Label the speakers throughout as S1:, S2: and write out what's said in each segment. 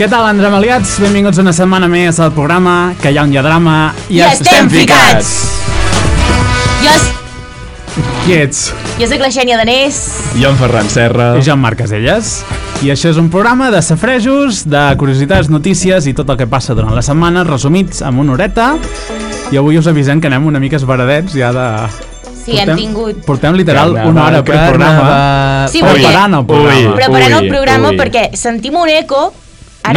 S1: Què tal, andramaliats? Benvinguts una setmana més al programa Que hi ha un diadrama i,
S2: I estem ficats! Jo, s-
S1: Qui ets?
S2: jo soc la Xènia Danés.
S3: Jo en Ferran Serra.
S1: Jo en Marc Caselles. I això és un programa de safrejos, de curiositats, notícies i tot el que passa durant la setmana, resumits amb una horeta. I avui us avisem que anem una mica esbaradets ja de...
S2: Sí, hem tingut.
S1: Portem literal
S3: Carnaval,
S1: una hora per programa.
S2: Sí,
S1: Ui,
S2: perquè-
S1: preparant el programa.
S3: Ui.
S2: Preparant el programa
S3: ui.
S2: perquè sentim un eco. Ara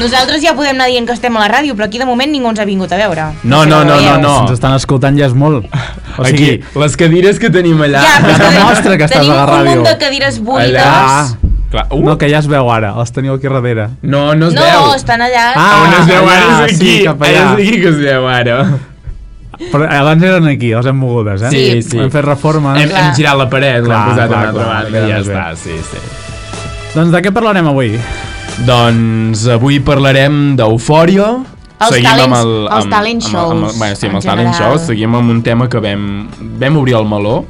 S2: nosaltres ja podem anar dient que estem a la ràdio, però aquí de moment ningú ens ha vingut a veure.
S3: No,
S2: sé
S3: no,
S2: com ho
S3: no,
S2: veieu.
S3: no.
S1: Si ens estan escoltant ja és molt. O
S3: Aquí,
S1: sigui,
S3: les cadires que tenim allà.
S2: Ja, però és que
S1: demostra que estàs
S2: tenim
S1: a la
S2: un munt
S1: ràdio.
S2: de cadires buides.
S3: allà. Clar, uh,
S1: no, que ja es veu ara, els teniu aquí darrere.
S3: no, no es
S2: No,
S3: veu.
S2: estan allà.
S1: Ah,
S3: On es veu ara
S1: allà,
S3: és
S1: sí,
S3: aquí.
S1: cap allà.
S3: És aquí que es veu ara.
S1: Però abans eren aquí, els hem mogudes, eh?
S3: Sí, sí.
S1: Hem fet reformes.
S3: Hem, hem
S2: Clar.
S3: girat la paret, l'hem
S1: Clar,
S3: posat a
S1: clar,
S3: una altra
S1: clar,
S3: banda i ja
S1: bé.
S3: està, sí, sí.
S1: Doncs de què parlarem avui?
S3: Doncs avui parlarem d'Eufòria.
S2: Els
S3: Seguim
S2: talent-
S3: amb el,
S2: els
S3: amb,
S2: talent
S3: amb, el- Amb, el-
S2: shows,
S3: bueno, sí, amb
S2: en
S3: els talent
S2: general.
S3: shows. Seguim amb un tema que vam, vam obrir el meló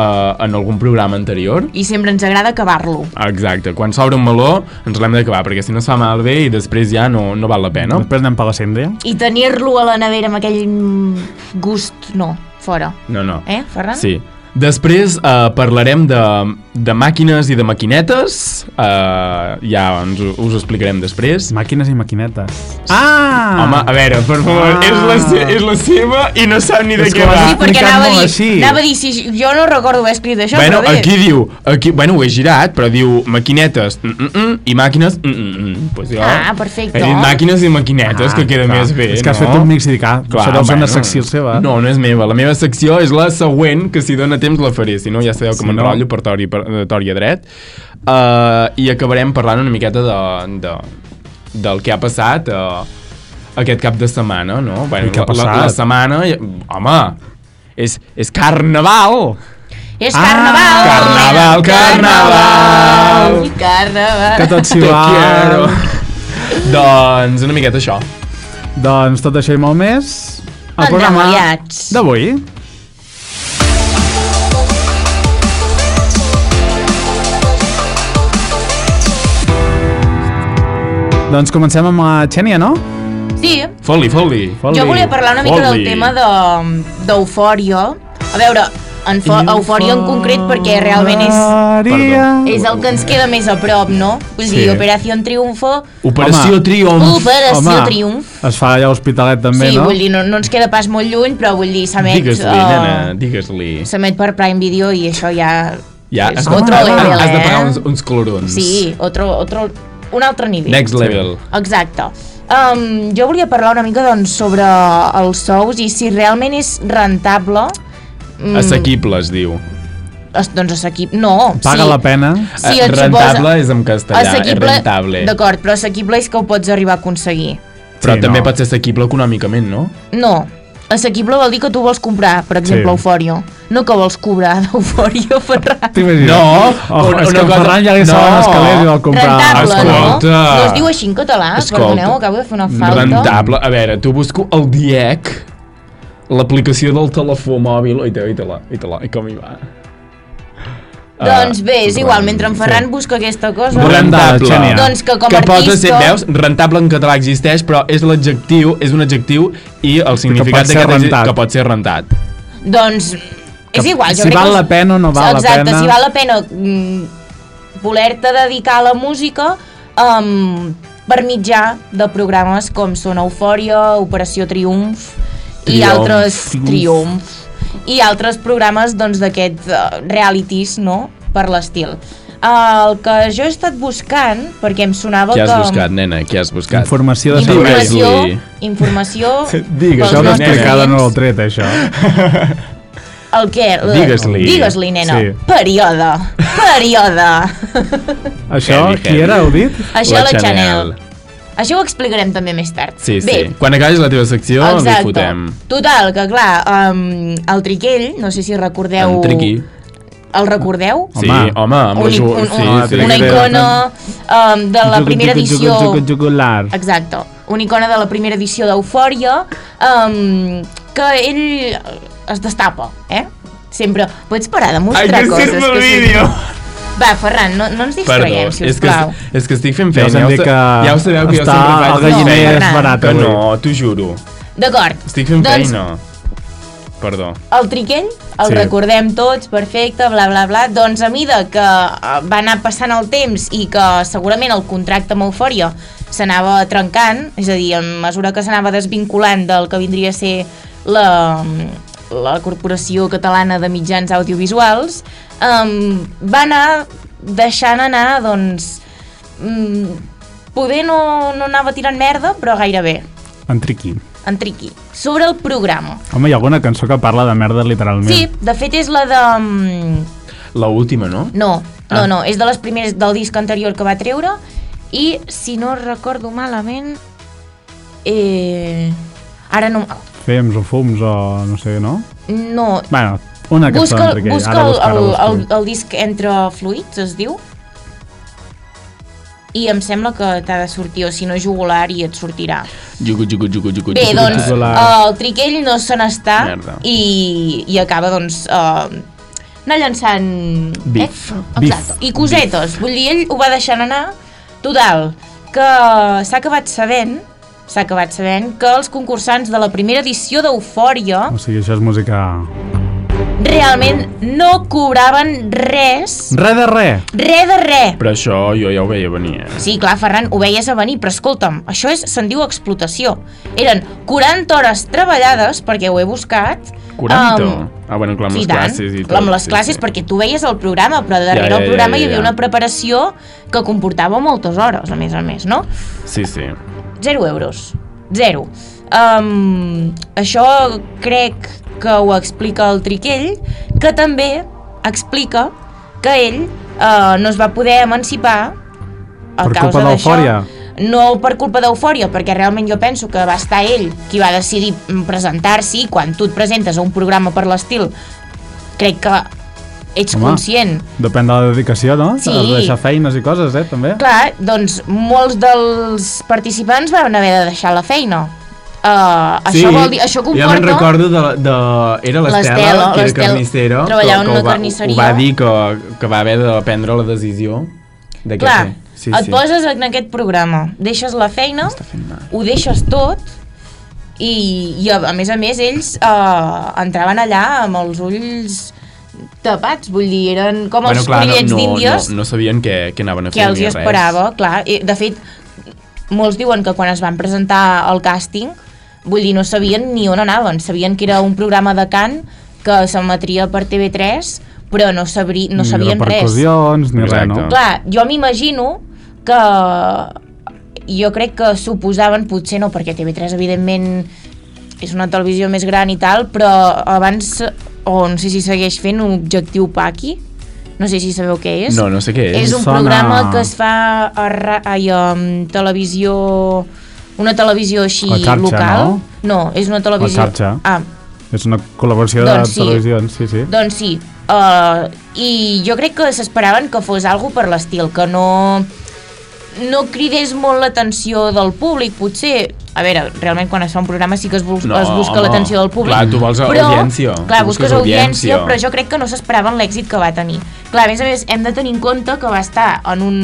S3: eh, en algun programa anterior.
S2: I sempre ens agrada acabar-lo.
S3: Exacte, quan s'obre un meló ens l'hem d'acabar, perquè si no es fa malbé i després ja no, no val la pena.
S1: No? Després anem per la síndria.
S2: I tenir-lo a la nevera amb aquell mm, gust, no, fora.
S3: No, no.
S2: Eh, Ferran?
S3: Sí. Després eh, parlarem de, de màquines i de maquinetes. Eh, ja ens, ho- us ho explicarem després.
S1: Màquines i maquinetes. Ah!
S3: Home, a veure, per favor,
S1: Ah.
S3: és, la, se- és la seva i no sap ni de
S1: És
S3: què
S1: com
S3: va.
S1: Ah,
S2: Sí, perquè
S1: explicat
S2: anava a,
S1: molt
S2: dir,
S1: així.
S2: anava a dir, si jo no recordo haver escrit això,
S3: Bueno,
S2: però bé.
S3: aquí diu, aquí, bueno, ho he girat, però diu maquinetes mm, mm, mm, i màquines mm, mm, mm. Pues jo,
S2: Ah, perfecte.
S3: He dit màquines i maquinetes,
S1: Ah,
S3: que queda
S1: clar.
S3: més bé,
S1: És que has
S3: no?
S1: fet un mix i dic, ah,
S3: Clar,
S1: això deu ser una
S3: bueno.
S1: secció seva.
S3: No, no és meva. La meva secció és la següent, que si dóna temps la faré. Si no, ja sabeu que
S1: Si
S3: si m'enrotllo no. per tori, per, de tori a dret. Uh, I acabarem parlant una miqueta de, de, del que ha passat uh, aquest cap de setmana, no? Bueno,
S1: I què ha
S3: la- la,
S1: passat?
S3: la, setmana... i- Home, és, és carnaval!
S2: És
S1: Ah,
S2: carnaval!
S3: carnaval, carnaval.
S2: I Carnaval!
S1: Que tot s'hi
S3: Te
S1: va.
S3: quiero. doncs una miqueta això.
S1: Doncs tot això i molt més... El programa
S2: Andamaliats.
S1: d'avui. Doncs comencem amb la Xènia, no?
S2: Sí,
S3: Foli, foli.
S1: Foli.
S2: jo volia parlar una mica
S3: Foli.
S2: del tema de- d'eufòria. A veure, en fo- eufòria en concret perquè realment és,
S1: Maria.
S2: és el que ens queda més a prop, no? Vull dir,
S1: Sí.
S2: Operació Triunfo,
S3: Operació
S1: Home.
S3: Triomf.
S2: Operació
S1: Home,
S2: Triomf.
S1: es fa allà a l'Hospitalet també,
S2: sí,
S1: no?
S2: vull dir, no, no ens queda pas molt lluny, però vull dir, s'emet...
S3: Digues-li,
S2: eh,
S3: nena, digues-li.
S2: S'emet per Prime Video i això ja...
S3: Ja,
S2: és
S3: has,
S2: otro
S3: has,
S2: level,
S3: has de
S2: eh?
S3: pagar uns, uns colorons.
S2: Sí, otro, otro, un altre nivell.
S3: Next level.
S2: Exacte. Um, jo volia parlar una mica doncs, sobre els sous i si realment és rentable... Mm,
S3: Assequible, es diu.
S2: es- Doncs assequible... No,
S1: Paga
S2: sí.
S1: la pena.
S2: Sí,
S3: Eh,
S2: et
S3: rentable
S2: suposa-
S3: és en castellà, és rentable.
S2: D'acord, però assequible és que ho pots arribar a aconseguir.
S3: Però
S1: Sí,
S3: també
S1: no.
S3: pot ser assequible econòmicament, no?
S2: No, assequible vol dir que tu vols comprar, per exemple,
S1: Sí.
S2: sí. Eufòria. No que vols cobrar d'Eufòria, Ferran.
S1: T'imagines?
S3: No,
S1: Oh,
S3: una-
S1: és que
S3: una
S1: en
S3: cosa-
S1: Ferran ja li saben
S3: No.
S1: els calés i el comprar.
S2: Rentable,
S3: Escolta.
S2: no? No es diu així en català,
S3: Escolta.
S2: perdoneu, acabo de fer una falta.
S3: Rentable. A veure, tu busco el DIEC, l'aplicació del telefó mòbil... Oita, oita-la, oita-la, i com hi va?
S2: Doncs bé, és
S3: Ah,
S2: igual, mentre en Ferran
S1: sí.
S2: busca aquesta cosa...
S1: Rentable,
S3: Rentable.
S1: Xènia.
S2: Doncs que com
S3: que
S2: a
S3: posa
S2: artista-
S3: ser, veus, rentable en català existeix, però és l'adjectiu, és un adjectiu i el significat
S1: ser
S3: d'aquest adjec-
S1: rentat.
S3: que pot ser rentat.
S2: Doncs és igual,
S1: si
S2: jo crec
S1: val
S2: que...
S1: la pena o no val la
S2: Exacte,
S1: pena.
S2: si val la pena mm, voler-te dedicar a la música um, per mitjà de programes com són Eufòria, Operació Triomf, i
S3: Triomf.
S2: altres Triomf i altres programes doncs d'aquests uh, realities, no?, per l'estil. el que jo he estat buscant, perquè em sonava
S3: Què
S2: que...
S3: has buscat, nena? Què has buscat?
S1: Informació de servei.
S2: Informació,
S3: Digues-li.
S2: informació...
S3: Digues,
S2: pels
S1: Això ho
S3: Doncs,
S1: he
S2: nostres
S1: explicar de
S2: oients.
S1: nou al tret, això.
S2: El què? L-
S3: Digues-li.
S2: Digues-li, nena.
S1: Sí.
S2: Període. Període.
S1: Això,
S3: Heavy,
S1: qui
S3: heavy.
S1: era, heu dit?
S2: Això la, la Chanel. Això ho explicarem també més tard.
S3: Sí, sí.
S2: Bé,
S3: Quan acabis la teva secció, Exacte.
S2: exacte.
S3: fotem.
S2: Total, que clar, um, el Triquell, no sé si recordeu...
S3: En Triqui.
S2: El recordeu?
S3: Sí,
S1: Home.
S3: home, amb la
S2: Un-
S3: ju...
S2: un- un-
S3: sí, sí,
S2: una
S3: sí.
S2: icona um, de la
S1: Jugu-
S2: primera
S1: jugu-
S2: edició...
S1: jugu- jugu- Jugular.
S2: Exacte, una icona de la primera edició d'Eufòria um, que ell es destapa, eh? Sempre, pots parar de mostrar
S3: Ai, que
S2: coses
S3: sí, és el
S2: que sí.
S3: vídeo!
S2: Va, Ferran, no, no ens distraiem,
S3: Perdó,
S2: sisplau.
S3: és que, és que estic fent
S1: Ja
S3: feina.
S1: us hem dit
S3: sa-
S1: que
S3: ja ho sabeu que jo
S1: està
S3: sempre faig...
S1: el galliner
S2: No,
S1: és
S2: Ferran.
S1: barat
S3: Que
S1: avui.
S3: no, t'ho juro.
S2: D'acord.
S3: Estic fent
S2: doncs,
S3: feina. Perdó.
S2: El triquell, el
S3: Sí.
S2: sí. recordem tots, perfecte, bla, bla, bla. Doncs a mida que eh, va anar passant el temps i que segurament el contracte amb Eufòria s'anava trencant, és a dir, a mesura que s'anava desvinculant del que vindria a ser la, la Corporació Catalana de Mitjans Audiovisuals, um, va anar deixant anar, doncs, um, poder no, no anava tirant merda, però gairebé,
S1: En triqui.
S2: en triqui. Sobre el programa.
S1: Home, hi ha alguna cançó que parla de merda literalment.
S2: Sí, de fet és la de... mm,
S3: La última, no?
S2: No, no,
S3: Ah.
S2: no, és de les primeres del disc anterior que va treure i, si no recordo malament, eh... ara no...
S1: Fems o fums o no sé, no?
S2: No,
S1: Bueno, una cançó
S2: busca,
S1: d'Enrique.
S2: busca
S1: Ara
S2: el,
S1: busca, ara
S2: el,
S1: busca.
S2: el, el disc Entre Fluids, es diu, i em sembla que t'ha de sortir, o si no, jugular i et sortirà.
S3: Jugu, jugu, jugu, jugu,
S2: Bé,
S3: jugu,
S2: doncs,
S3: jugu.
S1: Jugular.
S2: eh, el triquell no se n'està
S3: Merda.
S2: i, i acaba, doncs, eh, anar llançant...
S1: Bif.
S2: Eh? Exacte. I cosetes. Vull dir, ell ho va deixant anar. Total, que s'ha acabat sabent s'ha acabat sabent que els concursants de la primera edició d'Eufòria
S1: O sigui, això és música...
S2: realment no cobraven res,
S1: Re de re!
S2: re de re.
S3: Però això jo ja ho veia venir, eh?
S2: Sí, clar, Ferran, ho veies a venir, però escolta'm, això és, se'n diu explotació. Eren 40 hores treballades, perquè ho he buscat.
S3: 40?
S2: em,
S3: ah, bueno, clar, amb
S2: Um, sí,
S3: les
S2: tant,
S3: classes i tot.
S2: amb les
S3: sí,
S2: classes,
S3: sí.
S2: perquè tu veies el programa, però darrere
S3: Ja, ja,
S2: el programa
S3: ja,
S2: hi havia
S3: ja.
S2: una preparació que comportava moltes hores, a més a més, no?
S3: Sí, sí.
S2: Zero euros. Zero. Um, això crec que ho explica el Triquell, que també explica que ell uh, no es va poder emancipar a
S1: Per
S2: causa
S1: culpa
S2: d'això.
S1: d'Eufòria.
S2: No per culpa d'eufòria, perquè realment jo penso que va estar ell qui va decidir mm, presentar-s'hi. Quan tu et presentes a un programa per l'estil, crec que ets
S1: Home.
S2: conscient
S1: Depèn de la dedicació, no?
S2: Sí.
S1: Has de deixar feines i coses, eh, també.
S2: Clar, doncs molts dels participants van haver de deixar la feina. Uh, això vol dir, això
S3: Jo me'n
S2: comporta...
S3: recordo de, de... Era l'Estela,
S2: L'Estela,
S3: que era
S2: l'Estela.
S3: carnissera.
S2: Treballava en
S3: que, que
S2: una
S3: ho va,
S2: carnisseria.
S3: Ho va dir que, que va haver de prendre la decisió de què
S2: clar,
S3: fer. Sí,
S2: et
S3: sí.
S2: poses en aquest programa, deixes la feina,
S3: Està fent mal.
S2: ho deixes tot, i, i a, a més a més ells uh, entraven allà amb els ulls tapats, vull dir, eren com els
S3: no,
S2: pollets
S3: no,
S2: d'Índies
S3: no, no sabien què, què anaven a fer
S2: que els
S3: ni
S2: hi
S3: res.
S2: esperava, clar. I, de fet, molts diuen que quan es van presentar al càsting, vull dir, no sabien ni on anaven, sabien que era un programa de cant que s'emetria per TV3, però no, sabri, no
S1: ni
S2: sabien res.
S1: repercussions, ni res, no?
S3: Exacte.
S2: Clar, jo m'imagino que jo crec que suposaven, potser no, perquè TV3 evidentment és una televisió més gran i tal, però abans, o no sé si segueix fent un objectiu Paqui, no sé si sabeu què és.
S3: No, no sé què és.
S2: És un
S1: Sona-
S2: programa que es fa a, ra- ai, a um, televisió... Una televisió així
S1: La xarxa,
S2: local. No? no, és una televisió...
S1: xarxa.
S2: Ah,
S1: És una col·laboració
S2: Doncs
S1: de
S2: sí.
S1: televisions, sí, sí.
S2: doncs sí. Uh, I jo crec que s'esperaven que fos algo per l'estil, que no no cridés molt l'atenció del públic, potser... A veure, realment quan es fa un programa sí que es, bus
S3: No,
S2: es busca
S3: home.
S2: l'atenció del públic.
S3: Clar, tu vols
S2: però,
S3: audiència,
S2: Clar,
S3: tu busques
S2: busques audiència,
S3: audiència.
S2: però jo crec que no s'esperaven l'èxit que va tenir. Clar, a més a més, hem de tenir en compte que va estar en un,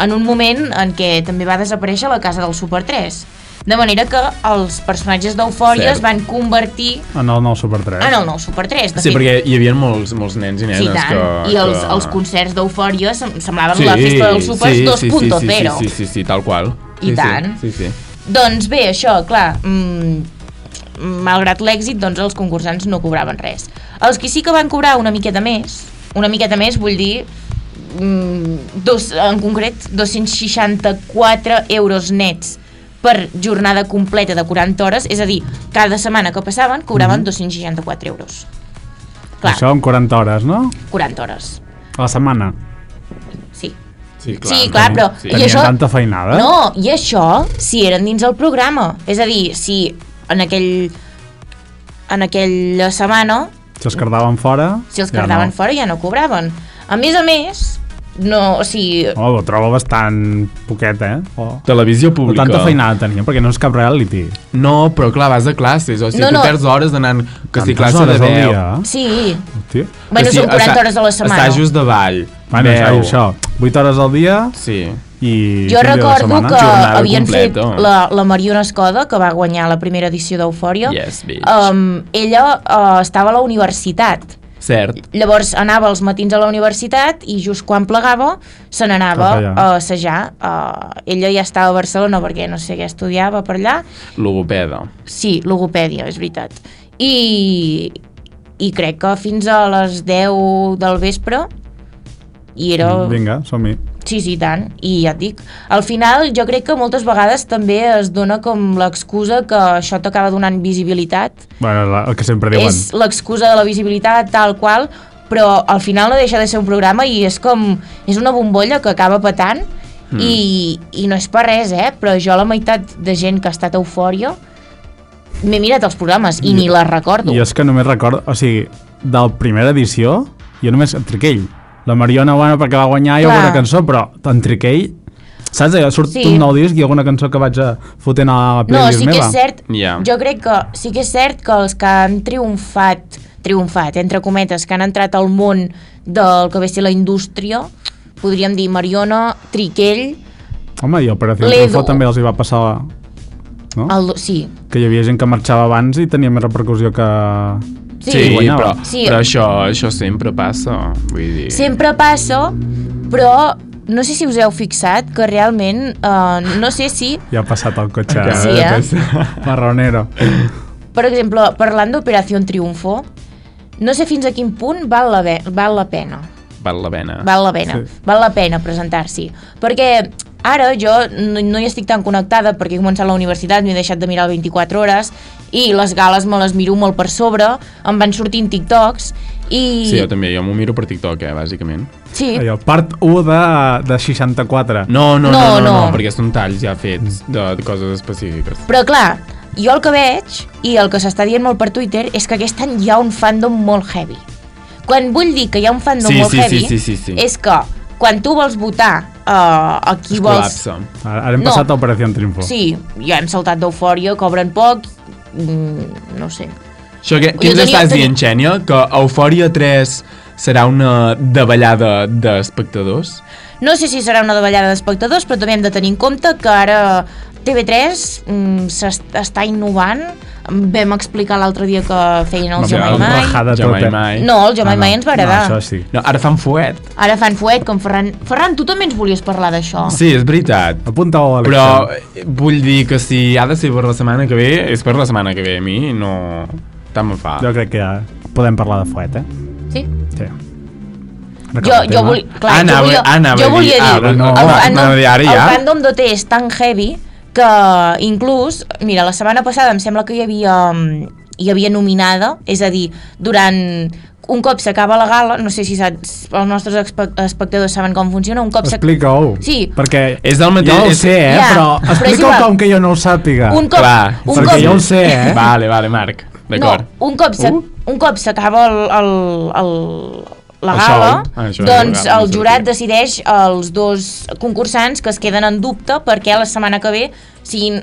S2: en un moment en què també va desaparèixer la casa del Super 3. De manera que els personatges d'Eufòria
S3: Cert.
S2: es van convertir
S1: En el nou Super 3.
S2: en el nou Super 3. De
S3: Sí,
S2: fet,
S3: perquè hi havia molts, molts nens i nenes
S2: Sí, tant.
S3: Eh, que...
S2: I els,
S3: que...
S2: els concerts d'Eufòria sem- semblaven la festa dels supers
S3: sí,
S2: 2.0.
S3: sí, sí, sí, sí, sí, sí, sí, tal qual. sí,
S2: I
S3: sí,
S2: tant.
S3: Sí, sí.
S2: Doncs bé, això, clar, mm, malgrat l'èxit, doncs els concursants no cobraven res. Els que sí que van cobrar una miqueta més, una miqueta més vull dir, mm, dos, en concret, 264 euros nets per jornada completa de 40 hores, és a dir, cada setmana que passaven cobraven
S3: Mhm.
S2: 264 euros. Clar,
S1: Això en 40 hores, no?
S2: 40 hores,
S1: A la setmana.
S2: sí.
S3: Sí,
S2: Sí, clar, Ah, però- I
S1: Tenien
S2: això-
S1: tanta feinada.
S2: No, i això si eren dins el programa. És a dir, si en aquell en aquella setmana
S1: Si els cardaven fora...
S2: Si els
S1: ja
S2: cardaven
S1: no.
S2: fora ja no cobraven. A més a més, no, o sigui,
S1: Oh, ho trobo bastant poquet, eh? Oh.
S3: Televisió
S1: Però
S3: pública.
S1: tanta feinada tenia, perquè no és cap reality.
S3: No, però clar, vas a classes, o sigui,
S2: No,
S3: no, no.
S2: no.
S3: tu perds hores anant, que si
S1: Tantes
S3: classe de
S1: hores al
S3: 10...
S1: dia, eh?
S2: sí,
S1: Hòstia.
S2: Bueno,
S3: que si
S2: són 40
S3: assa-
S2: hores a la setmana.
S3: Assajos de ball.
S1: Bueno,
S3: veu.
S1: això, això, 8 hores al dia
S3: Sí.
S1: i...
S2: Jo
S1: cinc dies a la
S2: recordo
S1: setmana.
S2: que
S3: Jornada
S2: havien
S3: completa.
S2: fet la, la Mariona Escoda, que va guanyar la primera edició d'Eufòria.
S3: Yes, bitch.
S2: um, ella uh, estava a la universitat.
S3: Cert.
S2: Llavors anava els matins a la universitat i just quan plegava se n'anava
S1: Cap allà.
S2: a assajar. Uh, ella ja estava a Barcelona perquè no sé què estudiava per allà.
S3: Logopeda.
S2: Sí, logopèdia, és veritat. I, i crec que fins a les 10 del vespre i era...
S1: Mm, Vinga, som-hi.
S2: Sí, sí, i tant. I ja et dic, al final jo crec que moltes vegades també es dona com l'excusa que això t'acaba donant visibilitat.
S1: Bueno, la- el que sempre diuen.
S2: És l'excusa de la visibilitat tal qual, però al final no deixa de ser un programa i és com... És una bombolla que acaba petant
S1: Mm.
S2: i, i no és per res, eh? Però jo la meitat de gent que ha estat a eufòria m'he mirat els programes i, ni les recordo.
S1: Jo és que només recordo, o sigui, del primera edició, jo només en Triquell. La Mariona, bueno, perquè va guanyar i
S2: Clar.
S1: alguna cançó, però en Triquell, saps? Allò, surt
S2: Sí.
S1: sí. un nou disc i alguna cançó que vaig a fotent a la
S2: No,
S1: playlist
S2: sí que
S1: meva.
S2: és cert,
S3: Ja.
S2: jo crec que sí que és cert que els que han triomfat, triomfat, entre cometes, que han entrat al món del que ve a ser la indústria, podríem dir Mariona, Triquell,
S1: Home, i Operació
S2: L'Edu.
S1: Triunfo també els hi va passar... No? El...
S2: el, sí,
S1: Que hi havia gent que marxava abans i tenia més repercussió que...
S2: sí,
S1: guanyava.
S3: però,
S2: Sí.
S3: però això, això sempre passa, vull dir...
S2: sempre passa, però no sé si us heu fixat que realment, eh, no sé si,
S1: Ja ha passat el cotxe.
S3: Acaba
S2: Sí,
S3: de
S2: eh?
S3: passar.
S1: Marronero.
S2: per exemple, parlant d'Operació Triunfo, no sé fins a quin punt val la, ve- val la pena.
S3: Val la pena.
S2: Val la pena,
S1: Sí.
S2: sí. val la pena presentar-s'hi. Perquè ara jo no, no hi estic tan connectada perquè he començat la universitat, m'he deixat de mirar el 24 hores i les gales me les miro molt per sobre, em van sortint TikToks i...
S3: Sí, jo també, jo m'ho miro per TikTok, eh, bàsicament.
S2: sí,
S1: Allò, part 1 de, de 64.
S3: No, no, no,
S2: No,
S3: no, no,
S2: no.
S3: no, perquè són talls ja fets de, de coses específiques.
S2: però clar, jo el que veig i el que s'està dient molt per Twitter és que aquest any hi ha un fandom molt heavy. Quan vull dir que hi ha un fandom
S3: Sí,
S2: molt
S3: sí, sí,
S2: heavy
S3: sí, sí, sí.
S2: és que quan tu vols votar uh, a qui
S3: Es
S2: vols
S3: col·lapsa.
S1: Ara, ara hem
S2: No.
S1: passat a Operació Triunfo.
S2: Sí, ja hem saltat d'eufòria, cobren poc, mm, no sé.
S3: Això, què, què
S2: Jo
S3: ens
S2: tenia-
S3: estàs
S2: tenia-
S3: dient, Xènia? Que Eufòria 3 serà una davallada d'espectadors?
S2: No sé si serà una davallada d'espectadors, però també hem de tenir en compte que ara TV3 mm, s'est- està innovant. Vam explicar l'altre dia que feien el
S1: Vam
S3: fer
S2: Jamai
S3: el
S2: Mai.
S1: rajada. De
S3: Jamai
S1: tot, eh?
S3: Mai.
S2: No, el Jamai
S1: Ah,
S2: Mai ens va agradar.
S1: No, això sí.
S3: tota. no, ara fan fuet.
S2: Ara fan fuet, com Ferran... Ferran, tu també ens volies parlar d'això.
S3: Sí, és veritat.
S1: Apunta-ho a
S3: Però eh, vull dir que si ha de ser per la setmana que ve, és per la setmana que ve. A mi no... Tant me fa.
S1: Jo crec que ja podem parlar de fuet, eh?
S2: Sí?
S1: Sí. eh?
S2: Jo, jo, volia, clar,
S3: Anava-
S2: jo volia,
S3: anava
S2: jo
S3: a dir-
S2: volia dir,
S3: ara no,
S2: el,
S3: va,
S2: fandom,
S3: anava a dir ara ja.
S2: el fandom d'OT és tan heavy que inclús, mira, la setmana passada em sembla que hi havia, mm, hi havia nominada, és a dir, durant un cop s'acaba la gala, no sé si saps, els nostres espe- espectadors saben com funciona, un cop s'ac-
S1: Explica-ho.
S2: Sí.
S1: Perquè
S3: És del mateix-
S1: Jo ho
S3: és-
S1: sé, eh?
S2: Ja,
S1: però
S2: però és
S1: explica-ho
S2: igual.
S1: com que jo no ho sàpiga.
S2: un cop,
S3: Clar,
S2: un
S1: perquè
S2: cop,
S1: jo ho sé, eh?
S3: Vale, vale, Marc.
S2: no,
S3: D'acord.
S2: un cop s'ac-
S3: Uh.
S2: un cop s'acaba el, el, el, la
S3: El
S2: gala,
S3: show. Ah, això, la
S2: doncs
S3: gala,
S2: el
S3: no
S2: jurat
S3: sortia.
S2: decideix els dos concursants que es queden en dubte perquè la setmana que ve siguin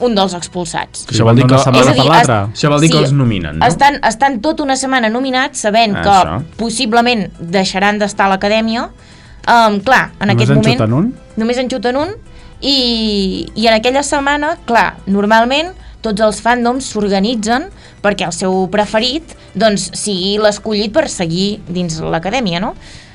S2: un dels expulsats.
S1: Això vol dir que...
S3: És
S1: Setmana
S3: a
S1: per
S3: dir,
S1: l'altra.
S2: es-
S3: Això vol dir que
S2: Sí.
S3: els nominen, no?
S2: Estan, estan tota una setmana nominats sabent
S3: Ah,
S2: que
S3: això.
S2: possiblement deixaran d'estar a l'acadèmia. Um, clar, en
S1: Només
S2: aquest
S1: en
S2: moment...
S1: xuten un?
S2: Només en xuten un. I, I en aquella setmana, clar, normalment tots els fandoms s'organitzen perquè el seu preferit doncs, sigui l'escollit per seguir dins l'acadèmia, no?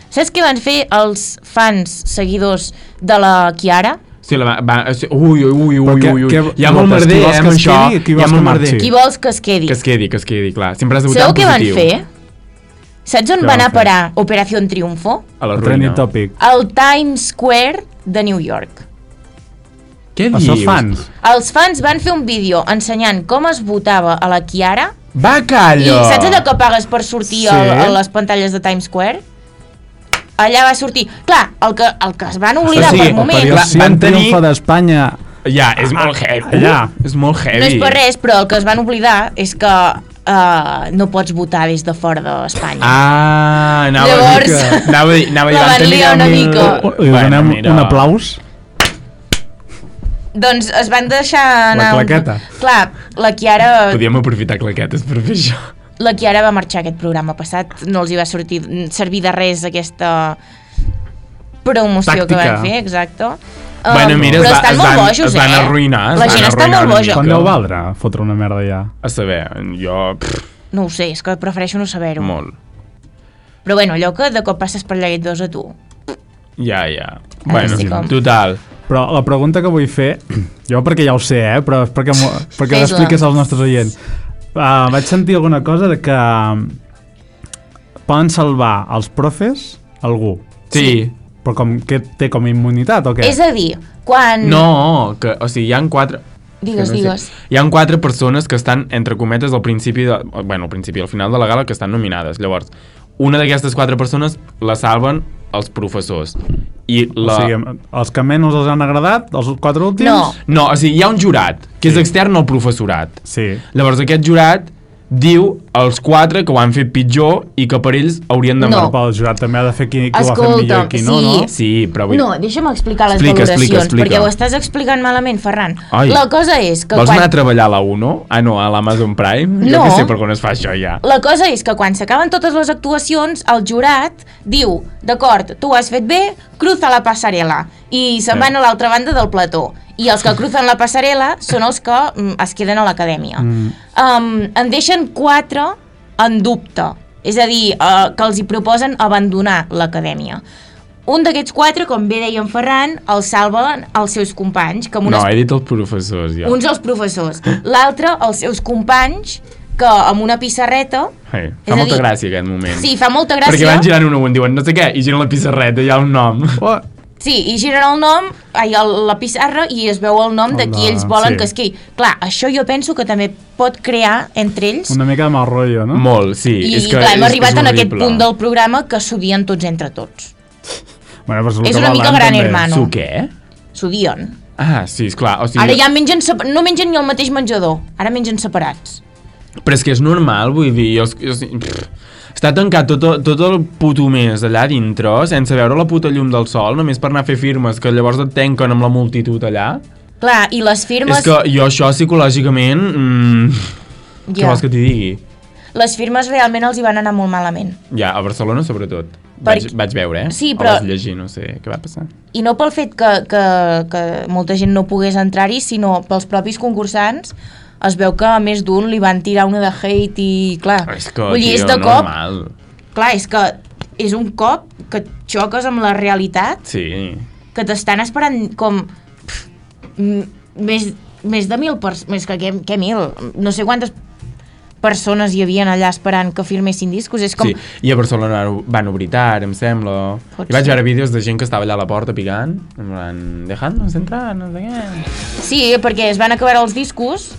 S2: Saps què van fer els fans seguidors de la Kiara?
S3: Sí, la, va, va, sí, ui, ui, ui,
S1: Però
S3: ui,
S1: què-
S3: ui, ui.
S1: què-
S3: Hi ha molt
S1: votes? Qui
S3: merder,
S1: vols que
S3: eh, amb
S1: es
S3: això.
S1: quedi i qui
S3: Hi ha
S1: vols
S3: molt
S1: que
S3: merder.
S1: marxi?
S2: Qui vols que es quedi?
S3: Que es quedi, que es quedi, clar. Sempre has de votar
S2: Sabeu
S3: en
S2: què van
S3: positiu.
S2: fer? Saps on
S1: Què
S2: van
S1: van
S2: a
S1: fer?
S2: parar Operació Triunfo?
S3: A la ruïna.
S1: Trending topic.
S2: Al Times Square de New York.
S3: Què dius?
S1: Això fans.
S2: Els fans van fer un vídeo ensenyant com es votava a la Kiara
S3: Va,
S2: I
S3: calla!
S2: saps allò que pagues per sortir sí.
S1: Sí.
S2: a, a les pantalles de Times Square? Allà va sortir. Clar, el que, el que es van
S3: O
S2: oblidar
S3: sigui,
S2: per moment...
S3: Però
S1: Però
S3: clar,
S1: si
S3: van
S1: un
S3: tenir-
S1: triomfo d'Espanya... Ah,
S3: Ja, és molt heavy.
S1: Allà.
S3: És molt heavy.
S2: No és per res, però el que es van oblidar és que eh, no pots votar des de fora d'Espanya.
S3: Ah, anava
S2: Llavors-
S3: a dir que... Anava a dir, anava a dir,
S2: La
S3: van tenir
S2: Berlia una
S3: mil-
S2: mica.
S1: Oh, Li donem
S3: mira.
S1: un aplaus.
S2: Doncs es van deixar
S1: La
S2: anar... un-
S1: claqueta.
S2: Clar, la Chiara,
S3: Podíem aprofitar claquetes per fer això.
S2: la Chiara va marxar aquest programa passat, no els hi va sortir, servir de res aquesta promoció que
S1: Tàctica.
S2: van fer, exacte.
S3: Um, bueno, mira,
S2: però
S3: es, va,
S2: estan
S3: es,
S2: molt
S3: van,
S2: bojos,
S3: es van
S2: eh?
S3: arruïnar. Es
S2: La
S3: van
S2: gent està
S3: arruïnar
S2: molt
S3: una
S2: boja.
S3: mica.
S1: Quan deu valdre fotre una merda ja?
S3: A saber, jo... Pff,
S2: No ho sé, és que prefereixo no saber-ho.
S3: molt.
S2: Però bueno, allò que de cop passes per Llegat 2 a tu.
S3: Ja, ja. Bueno,
S2: sí, com-
S3: total.
S1: Però la pregunta que vull fer, jo perquè ja ho sé, eh, però és perquè, m'ho- perquè
S2: Fes-la.
S1: l'expliques als nostres oients. Uh, vaig sentir alguna cosa de que poden salvar els profes algú,
S3: Sí.
S1: però com que té com a immunitat o què?
S2: És a dir, quan...
S3: No, que, o sigui, hi han quatre...
S2: Digues,
S3: que no
S2: digues.
S3: Hi han quatre persones que estan, entre cometes, al principi, de, bueno, al principi, al final de la gala, que estan nominades. Llavors, una d'aquestes quatre persones la salven els professors. I
S1: La...
S3: la...
S1: O sigui, els que menys els han agradat, els quatre últims?
S2: No.
S3: No, o sigui, hi ha un jurat, que és extern al professorat.
S1: Sí.
S3: Llavors, aquest jurat diu els quatre que ho han fet pitjor i que per ells haurien de...
S2: No.
S1: Però el jurat també ha de fer qui, qui ho ha fet
S2: Escolta'm,
S1: millor i qui no,
S2: sí.
S1: no?
S3: Sí, però vull...
S2: No, deixa'm explicar les
S3: Explica,
S2: valoracions,
S3: explica, explica.
S2: perquè ho estàs explicant malament, Ferran.
S3: Ai.
S2: La cosa és que
S3: Vols
S2: quan...
S3: anar a treballar a la 1? Ah, no, a l'Amazon Prime? Jo
S2: No.
S3: què sé per on es fa això ja.
S2: La cosa és que quan s'acaben totes les actuacions, el jurat diu, d'acord, tu ho has fet bé, cruza la passarel·la. I se'n
S3: Eh.
S2: van a l'altra banda del plató. I els que crucen la passarel·la són els que mm, es queden a l'acadèmia.
S1: Mm.
S2: Um, en deixen quatre en dubte. És a dir, uh, que els hi proposen abandonar l'acadèmia. Un d'aquests quatre, com bé deia en Ferran, el salven els seus companys, que amb
S3: No, eh.
S2: unes
S3: he dit els professors ja.
S2: uns els professors, l'altre els seus companys, que amb una pissarreta...
S3: Ai,
S2: És
S3: fa
S2: a
S3: molta
S2: dir-
S3: gràcia aquest moment.
S2: Sí, fa molta
S3: Perquè
S2: gràcia.
S3: van girant un a un, diuen no sé què, i giren la pissarreta, hi ha un nom.
S1: Oh,
S2: Sí, i giren el nom, ai, el, la pissarra, i es veu el nom de
S1: El
S2: qui
S1: de-
S2: ells volen
S1: sí.
S2: que es quedi. Clar, això jo penso que també pot crear entre ells...
S1: una mica de mal rotllo, no?
S3: Molt, sí.
S2: I,
S3: és
S2: I
S3: que
S2: clar, hem
S3: és,
S2: arribat
S3: és
S2: en aquest
S3: horrible.
S2: punt del programa que s'odien tots entre tots.
S1: Bueno, però el
S2: És
S1: que
S2: una mica
S1: volen,
S2: Gran
S1: també.
S2: Hermano.
S3: Su què?
S2: S'odien.
S3: Ah, sí, és clar. O sigui,
S2: Ara ja mengen... sep- No mengen ni el mateix menjador. Ara mengen separats.
S3: Però és que és normal, vull dir, jo, jo, pff, està tancat tot, el- tot el puto mes allà dintre, sense veure la puta llum del sol, només per anar a fer firmes, que llavors et tanquen amb la multitud allà.
S2: Clar, i les firmes...
S3: És que jo això psicològicament... Mm,
S2: ja,
S3: Què vols que t'hi digui?
S2: Les firmes realment els hi van anar molt malament.
S3: Ja, a Barcelona sobretot.
S2: Per-
S3: Vaig, vaig veure, eh?
S2: Sí,
S3: O
S2: però-
S3: Vaig llegir, no sé què va passar.
S2: i no pel fet que, que, que molta gent no pogués entrar-hi, sinó pels propis concursants, es veu que a més d'un li van tirar una de hate i clar,
S3: Però és que,
S2: Ah. vull dir,
S3: tio,
S2: és de cop,
S3: normal.
S2: clar, és que és un cop que xoques amb la realitat,
S3: Sí.
S2: que t'estan esperant com pff, m- més, més de mil persones, més que què, què mil, no sé quantes persones hi havien allà esperant que firmessin discos, és com,
S3: sí. I a Barcelona ho- van obrir tard, em sembla.
S2: Pot
S3: I vaig
S2: ser.
S3: veure vídeos de gent que estava allà a la porta picant, en plan, dejadnos entrar, no sé què.
S2: sí, perquè es van acabar els discos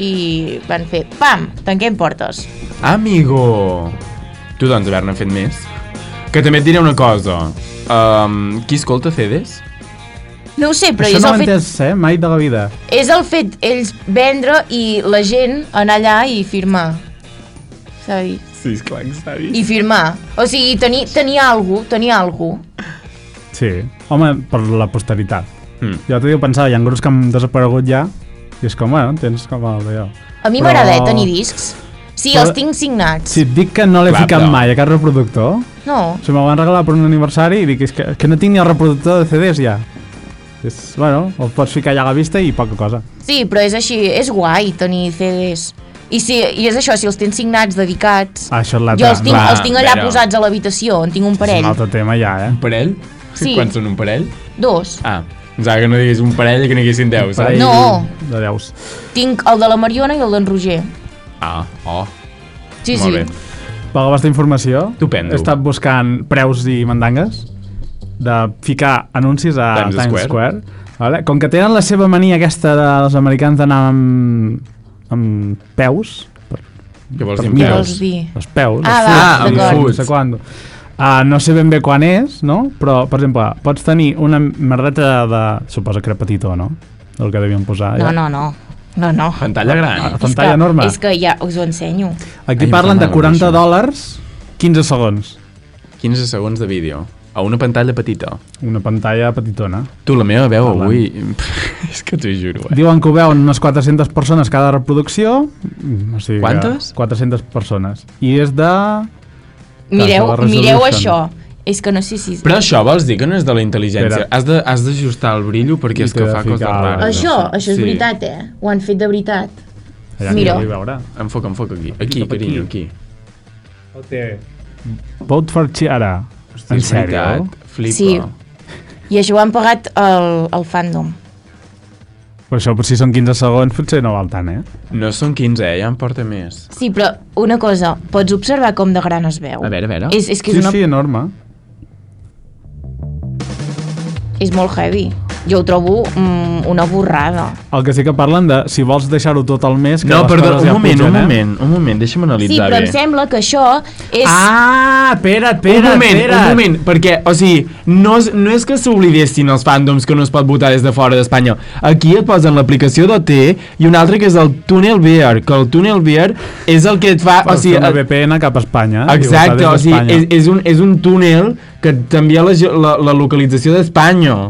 S2: i van fer, pam, tanquem portes.
S3: Amigo! Tu doncs haver-ne fet més. Que també et diré una cosa. Um, qui escolta CDs?
S2: No ho sé, però
S1: Això
S2: és,
S1: no ho
S2: el
S1: he
S2: fet,
S1: entès, eh? Mai de la vida.
S2: és el fet ells vendre i la gent anar allà i firmar. Sabi?
S3: Sí, esclar que s'ha
S2: I firmar. O sigui, tenir, tenir algú, tenir algú.
S1: Sí. Home, per la posteritat.
S3: Mm.
S1: Jo t'ho dic, pensava, hi ha grups que han desaparegut ja, i és com, bueno, tens com el d'allò.
S2: A mi
S1: Però-
S2: m'agrada eh, tenir discs. Sí,
S1: Però-
S2: els tinc signats.
S1: Si et dic que no l'he
S3: Clar,
S1: ficat
S3: però-
S1: mai a cap reproductor,
S2: No.
S1: se me'l van regalar per un aniversari i dic, és que, que no tinc ni el reproductor de CDs ja. És, bueno, el pots ficar allà a la vista i poca cosa.
S2: Sí, però és així, és guai tenir CDs. I, si, i és això, si els tens signats, dedicats...
S1: Ah, això és l'altre.
S2: jo els tinc,
S3: clar,
S2: els tinc allà
S3: però-
S2: posats a l'habitació, en tinc un
S1: És
S2: parell.
S1: un altre tema ja, eh?
S3: Un parell?
S2: Sí.
S3: Quan són un parell?
S2: Dos.
S3: Ah, pensava que no digués un parell i que n'hi deu, saps?
S1: Parell
S2: No.
S1: De deus.
S2: Tinc el de la Mariona i el d'en Roger.
S3: Ah, oh,
S2: Sí,
S3: molt
S2: sí.
S3: bé.
S1: Per la vostra informació,
S3: Estupendo.
S1: he estat buscant preus i mandangues de ficar anuncis a
S3: Times
S1: Times, Times
S3: Square.
S1: Square. Vale? Com que tenen la seva mania aquesta dels americans d'anar amb, amb peus,
S3: Què vols
S1: Per
S3: dir?
S1: mi
S3: amb
S1: vols
S3: peus?
S2: dir? Sí.
S1: els peus,
S2: Ah,
S1: els
S2: va,
S1: foots,
S3: d'acord.
S1: no sé quan. Uh, no sé ben bé quan és, no? Però, per exemple, pots tenir una merdeta de... Suposa que era petitó, no? El que devien posar.
S2: No, no, no. No, no.
S3: Pantalla gran.
S1: Pantalla
S2: és que,
S1: enorme.
S2: És que ja us ho ensenyo.
S1: Aquí
S3: Ai, em
S1: parlen
S3: fa
S1: de
S3: mal,
S1: 40
S3: això.
S1: dòlars, 15 segons.
S3: 15 segons de vídeo. A una pantalla petita.
S1: Una pantalla petitona.
S3: Tu, la meva veu avui... és que t'ho juro, eh?
S1: Diuen que ho veuen unes 400 persones cada reproducció. Mm, O sigui que
S3: Quantes?
S1: 400 persones. I és de...
S2: Mireu,
S1: la resolution.
S2: mireu això. És que no sé si...
S3: Però això vols dir que no és de la intel·ligència.
S1: Espera.
S3: Has de- Has d'ajustar el brillo
S1: I
S3: perquè és
S1: t'he
S3: que
S1: de
S3: fa
S1: ficar
S3: coses
S1: el-
S3: rares.
S2: Això, això és
S3: Sí.
S2: veritat, eh? Ho han fet de veritat.
S1: Allà
S2: Mira.
S1: que ho vull veure.
S3: Enfoca, enfoca aquí. Aquí,
S1: cap aquí.
S3: carinyo, aquí.
S1: Vote for Chiara. en
S3: És veritat.
S1: sèrio?
S3: Flipa.
S2: Sí. I això ho han pagat el, el fandom.
S1: Però això, si són 15 segons, potser no val tant, eh?
S3: No són 15, eh? Ja en porta més.
S2: Sí, però una cosa, pots observar com de gran es veu?
S3: A veure, a veure.
S2: És, és que
S1: sí,
S2: és, una,
S1: sí, enorme.
S2: és molt heavy. Jo ho trobo mm, una borrada.
S1: El que sí que parlen de si vols deixar-ho tot al mes... Que
S3: No,
S1: les
S3: perdó,
S1: coses ja
S3: un moment,
S1: pugen,
S3: un
S1: eh?
S3: moment, un moment, deixa'm
S2: Sí,
S3: analitzar bé.
S2: però em sembla que això és...
S1: Ah, espera't,
S3: un
S1: espera't,
S3: moment,
S1: espera't.
S3: un moment, perquè, o sigui, no és, no és que s'oblidessin els fandoms que no es pot votar des de fora d'Espanya. Aquí et posen l'aplicació d'OT i un altre que és el Tunnel Bear, que el Tunnel Bear és el que et fa...
S1: O
S3: o sigui,
S1: una
S3: et-
S1: VPN cap a Espanya.
S3: Exacte,
S1: diu,
S3: o
S1: des
S3: sigui,
S1: d'Espanya.
S3: és, és, un, és un túnel que t'envia la, ge- la, la localització d'Espanya.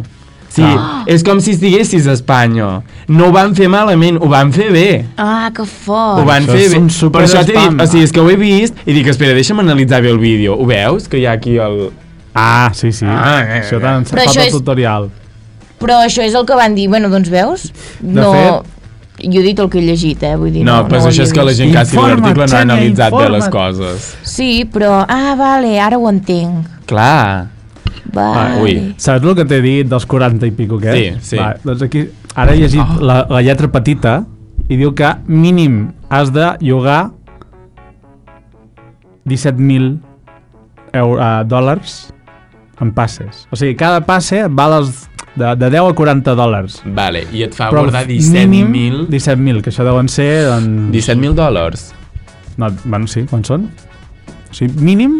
S3: Sí,
S1: Ah.
S3: és com si estiguessis a Espanya. No ho van fer malament, ho van fer bé.
S2: Ah, que
S3: Ho
S1: va-
S2: fort.
S3: van
S1: això
S3: fer
S1: és
S3: bé.
S1: un super
S3: Per això t'he
S1: spam.
S3: dit, o sigui, és que ho he vist i dic, espera, deixa'm analitzar bé el vídeo. Ho veus? Que hi ha aquí el...
S1: Ah, sí, sí.
S3: Ah, eh,
S1: això
S3: eh.
S1: t'han
S2: Però
S1: encertat
S2: això
S1: el
S2: és-
S1: tutorial.
S2: Però això és el que van dir, bueno, doncs veus? no...
S1: fet-
S2: Jo he dit el que he llegit, eh? Vull dir,
S3: No,
S2: no,
S3: però
S2: no ho
S3: això és
S2: havia
S3: que la
S2: vist.
S3: gent que ha escrit
S1: Informa't,
S3: l'article no ha
S1: Xènia,
S3: analitzat bé les
S1: informa't.
S3: coses.
S2: Sí, però... Ah, vale, ara ho entenc.
S3: Clar.
S2: Vale.
S3: Ah, ui.
S1: Saps el que t'he dit dels 40 i pico, que és?
S3: Sí, Oh. sí.
S1: Va, doncs aquí, ara he llegit la, la lletra petita i diu que mínim has de llogar 17.000 eur- eh, dòlars en passes. O sigui, cada passe val els de, de 10 a 40 dòlars.
S3: Vale, i et fa
S1: Però
S3: guardar
S1: mínim
S3: 17.000...
S1: 17.000, que això deuen ser... Doncs,
S3: 17.000 dòlars.
S1: No, bueno, sí, quan són? O sigui, mínim,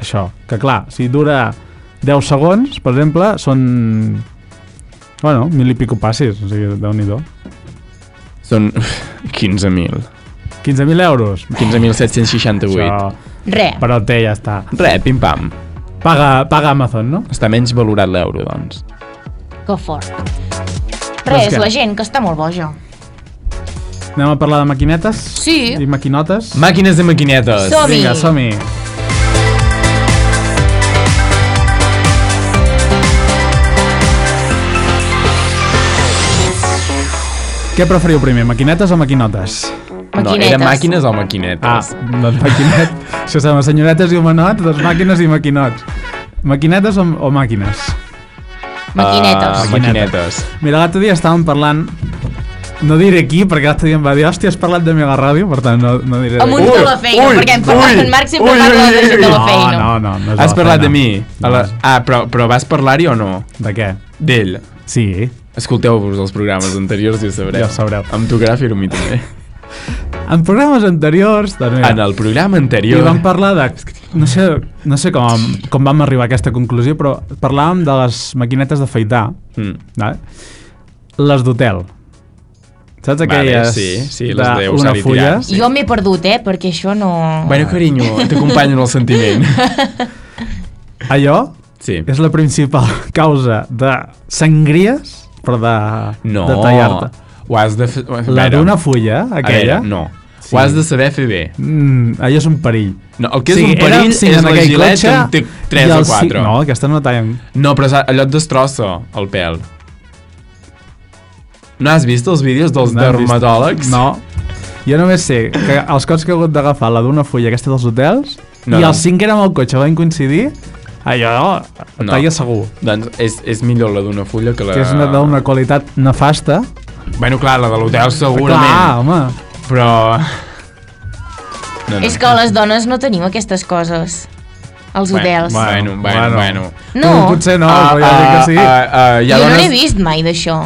S1: això. Que clar, si dura 10 segons, per exemple, són... Bueno, mil i pico passis, o sigui, déu nhi
S3: Són 15.000.
S1: 15.000 euros.
S3: 15.768.
S1: Això,
S2: Re.
S1: però té, ja està.
S3: Re, pim-pam.
S1: Paga, paga Amazon, no?
S3: Està menys valorat l'euro, doncs.
S2: Que fort.
S1: Doncs
S2: Res,
S1: què?
S2: la gent que està molt boja.
S1: Anem a parlar de maquinetes?
S2: Sí.
S1: I maquinotes?
S3: Màquines de maquinetes.
S2: Som- Som-hi.
S1: Vinga, som-hi. Què preferiu primer, maquinetes o maquinotes?
S3: No,
S2: Maquinetes.
S3: eren màquines o maquinetes?
S1: Ah, doncs maquinet. Això són les senyoretes i un menot, doncs màquines i maquinots. Maquinetes o, o màquines?
S3: Ah,
S2: Maquinetes.
S3: maquinetes.
S1: Mira, l'altre dia estàvem parlant... No diré qui, perquè l'altre dia em va dir hòstia, has parlat de meva ràdio, per tant no, no diré... de
S2: Amb
S1: qui.
S2: uns
S3: Ui,
S2: de la feina,
S3: ui,
S2: perquè en parlat
S3: ui,
S2: en Marc sempre
S3: ui,
S2: parla de la gent de la
S1: no,
S2: feina.
S1: No, no, no. és
S3: Has
S1: la feina.
S3: parlat de mi? A la... Ah, però, però vas parlar-hi o no?
S1: De què?
S3: D'ell.
S1: Sí.
S3: Escolteu-vos els programes anteriors i ho sabreu.
S1: Ja ho sabreu.
S3: Em tocarà fer-ho a mi també.
S1: En programes anteriors, doncs mira,
S3: En el programa
S1: i
S3: anterior...
S1: vam parlar de... No sé, no sé com, com vam arribar a aquesta conclusió, però parlàvem de les maquinetes d'afaitar,
S3: Mm.
S1: vale? les d'hotel. Saps
S3: Vale,
S1: aquelles
S3: sí, sí, les
S1: de
S3: de
S1: una
S3: usar i
S1: fulla?
S3: tirar.
S2: Jo m'he perdut, eh, perquè això no...
S3: Bueno,
S1: Ah.
S3: carinyo, t'acompanyo en el sentiment.
S1: Allò
S3: Sí.
S1: és la principal causa de sangries, però de,
S3: No.
S1: de tallar-te.
S3: Ho has de fer... a
S1: La
S3: veure,
S1: d'una fulla,
S3: a
S1: aquella,
S3: Veure, no. Ho has de saber fer bé.
S1: mm, allò és un perill.
S3: No, el que és
S1: O sigui,
S3: un perill
S1: érem cinc
S3: és
S1: en
S3: la
S1: aquell
S3: gilet
S1: cotxe
S3: que en té
S1: i
S3: 3 o
S1: els cinc-
S3: 4.
S1: No, aquesta no la tallen.
S3: No, però s'ha- allò et destrossa el pèl. No has vist els vídeos dels
S1: No hem vist-
S3: dermatòlegs?
S1: No. Jo només sé que els cops que he hagut d'agafar la d'una fulla aquesta dels hotels no.
S3: No,
S1: i
S3: no.
S1: els cinc que érem al cotxe van coincidir, allò no.
S3: No.
S1: talla segur.
S3: Doncs és, és millor la d'una fulla que la...
S1: Que és una, d'una qualitat nefasta.
S3: Bueno, clar, la de l'hotel
S1: Clar,
S3: segurament,
S1: home.
S3: clar. però... No, no.
S2: És que les dones no tenim aquestes coses. Els hotels.
S3: Bueno, bueno, bueno. bueno.
S2: No.
S1: Tu, potser no,
S3: Ah,
S1: però ja dic que
S3: ah,
S1: sí.
S3: ah, ah, hi ha
S2: Jo no
S3: dones-
S2: n'he vist mai d'això.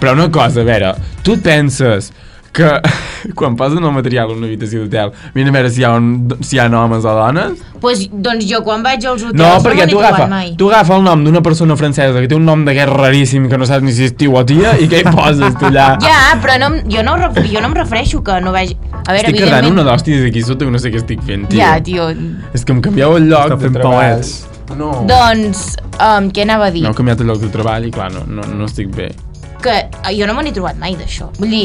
S3: Però una cosa, a veure, tu et penses que quan posen el material a una habitació d'hotel mira a veure si hi ha, un, si hi ha homes o dones
S2: Pues, doncs jo quan vaig als hotels
S3: no, perquè
S2: m'he
S3: tu
S2: trobat
S3: agafa,
S2: mai.
S3: tu agafa el nom d'una persona francesa que té un nom de guerra raríssim que no saps ni si és tio o tia i què hi poses tu allà
S2: Ja, però no, em- jo, no, ref- jo no em refereixo que no vagi... A veure,
S3: estic carregant una d'hòsties aquí sota i no sé què estic fent tio.
S2: Ja,
S1: Oh.
S2: tio.
S3: és que em canvieu el lloc
S1: Està
S3: de
S1: fent
S3: treball
S1: palets.
S3: no.
S2: Doncs, um, què anava a dir?
S3: no, he canviat el lloc de treball i clar, no, no, no estic bé
S2: Que eh, jo no me n'he trobat mai d'això. Vull dir...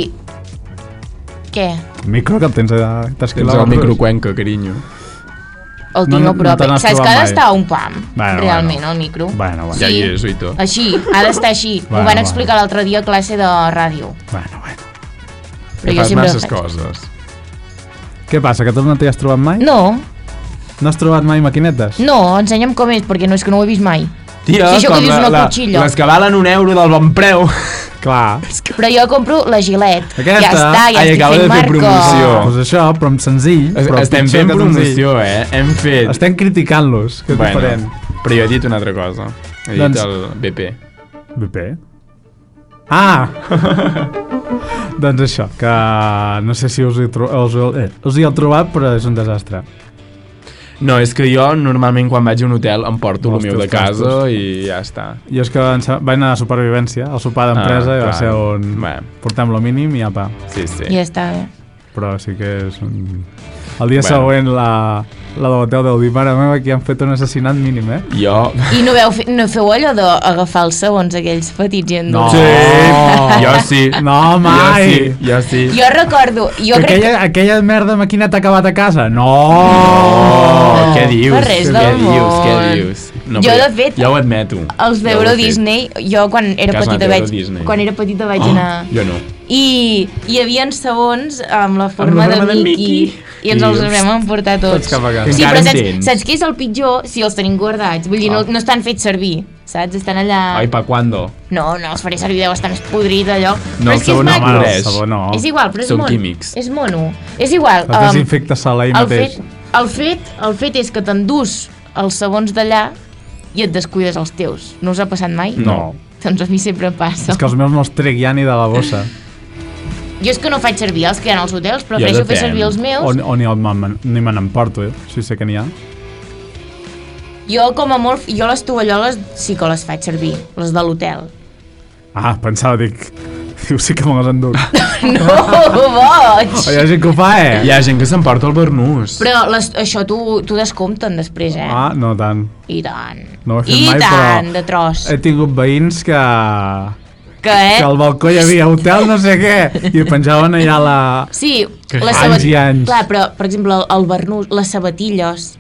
S2: Què?
S1: El micro que el tens a 3
S3: ah. tens
S1: quilòmetres.
S3: el microcuenca, carinyo
S2: El
S1: No,
S2: tinc no,
S1: no,
S2: a prop.
S1: no te n'has
S2: Saps que ha
S1: trobat mai.
S2: d'estar a un pam,
S1: Bueno,
S2: realment,
S1: bueno.
S2: al micro.
S1: Bueno, bueno.
S3: ja
S2: Sí.
S3: hi és, oi tu
S2: Així, ha d'estar així.
S1: Bueno,
S2: Bueno, Ho van
S1: bueno.
S2: explicar l'altre dia a classe de ràdio.
S1: bueno, bueno.
S2: Però
S3: que
S2: jo
S3: fas
S2: sempre
S3: masses
S2: faig.
S3: coses
S1: Què passa, que tu no t'hi has trobat mai?
S2: No,
S1: No has trobat mai maquinetes?
S2: no, ensenya'm com és, perquè no és que no ho he vist mai.
S3: Tia,
S2: Si això que
S3: com
S2: dius
S3: la-
S2: una
S3: la-
S2: cotxilla.
S3: Les que valen un euro del bon preu.
S1: Clar.
S2: Però jo compro la Gillette.
S1: Aquesta,
S2: ja està, ja
S3: ai,
S2: estic
S3: acaba
S2: fent
S3: de fer
S2: marca.
S3: promoció.
S1: Doncs pues això, però amb senzill.
S3: Ah. Es-
S1: però
S3: Estem
S1: pitjor
S3: fent
S1: que senzill.
S3: promoció, eh? Hem fet...
S1: Estem criticant-los, que és
S3: Bueno,
S1: diferent.
S3: Però jo he dit una altra cosa. He dit
S1: Doncs-
S3: el BP.
S1: BP? eh? Ah! doncs això, que no sé si us hi, tro us, eh, us hi heu trobat, però és un desastre.
S3: No, és que jo normalment quan vaig a un hotel em porto el
S1: Els
S3: meu
S1: teus
S3: de casa i ja està.
S1: Jo és que en sa- vaig anar a supervivència, al sopar d'empresa,
S3: Ah,
S1: i va
S3: clar.
S1: ser on
S3: Bé.
S1: portem lo mínim i apa.
S3: Sí, sí.
S2: Ja està, bé.
S1: Però sí que és un... El dia
S3: Bueno.
S1: següent la, la de l'hotel deu dir, mare meva, aquí han fet un assassinat mínim, eh?
S3: Jo...
S2: I no, veu, fe- no feu allò d'agafar els segons aquells petits i endur?
S1: No.
S3: Sí.
S1: Oh.
S3: Jo sí.
S1: No, mai!
S3: Jo sí. Jo sí.
S2: Jo recordo, jo
S1: que
S2: crec
S1: aquella, aquella merda de maquineta ha acabat a casa. No!
S3: Oh, què dius?
S2: Per res
S3: què
S2: del
S3: dius? Què
S2: món.
S3: diuro. dius? No,
S2: Jo,
S3: però
S2: de fet,
S3: Ja ho admeto.
S2: els
S3: Ja ho he
S2: d'Euro
S3: fet.
S2: Disney, jo quan era
S3: Que has
S2: petita
S3: anat a Euro
S2: vaig,
S3: Disney.
S2: quan era petita vaig
S3: Oh,
S2: anar...
S3: Jo no.
S2: I hi havia segons amb la forma,
S3: forma
S2: de,
S3: de
S2: Mickey,
S3: Mickey.
S2: i ens els
S3: I-
S2: haurem emportat tots.
S1: Tots cap a casa.
S2: Sí,
S3: Encara
S2: però
S3: en
S2: saps,
S3: tens.
S2: saps què és el pitjor? Si els tenim guardats. Vull dir, no,
S1: Ah.
S2: no estan fets servir, saps? Estan allà...
S3: Ai, pa quando?
S2: No, no, els faré servir, deu estar més podrit allò.
S3: No, el
S2: però és que és
S3: segon
S1: No,
S2: maco.
S1: mare,
S3: Res.
S1: el sabó no.
S2: És igual, però és
S3: Són
S2: mono.
S3: químics.
S2: És mono. És igual.
S1: El desinfecta sala ahir
S2: Um, el,
S1: mateix.
S2: fet, el, fet, el fet és que t'endús els segons d'allà i et descuides els teus. No us ha passat mai?
S1: No.
S2: Doncs a mi sempre em passa.
S1: És que els meus no els trec ja ni de la bossa.
S2: Jo és que no faig servir els que hi ha als hotels,
S3: Jo
S2: prefereixo fer
S3: depèn.
S2: servir els meus.
S1: O, o ni, el, man- ni me n'emporto, eh? Si sé que n'hi ha.
S2: Jo, com a molt, jo les tovalloles sí que les faig servir, les de l'hotel.
S1: Ah, pensava, dic... Diu, sí que me les enduc.
S2: No, boig!
S1: Oh, hi ha gent que ho fa, eh?
S3: Hi ha gent que s'emporta el barnús.
S2: Però les, això t'ho t'ho descompten després, eh?
S1: Ah, no tant.
S2: I tant.
S1: No ho he fet
S2: I
S1: mai,
S2: tant,
S1: però-
S2: de tros.
S1: He tingut veïns que...
S2: Que, eh?
S1: Que al balcó hi havia hotel no sé què i penjaven allà la...
S2: Sí,
S3: Que
S2: les
S1: anys
S2: sabat-
S1: i anys.
S2: Clar, però, per exemple, el, el barnús, les sabatilles,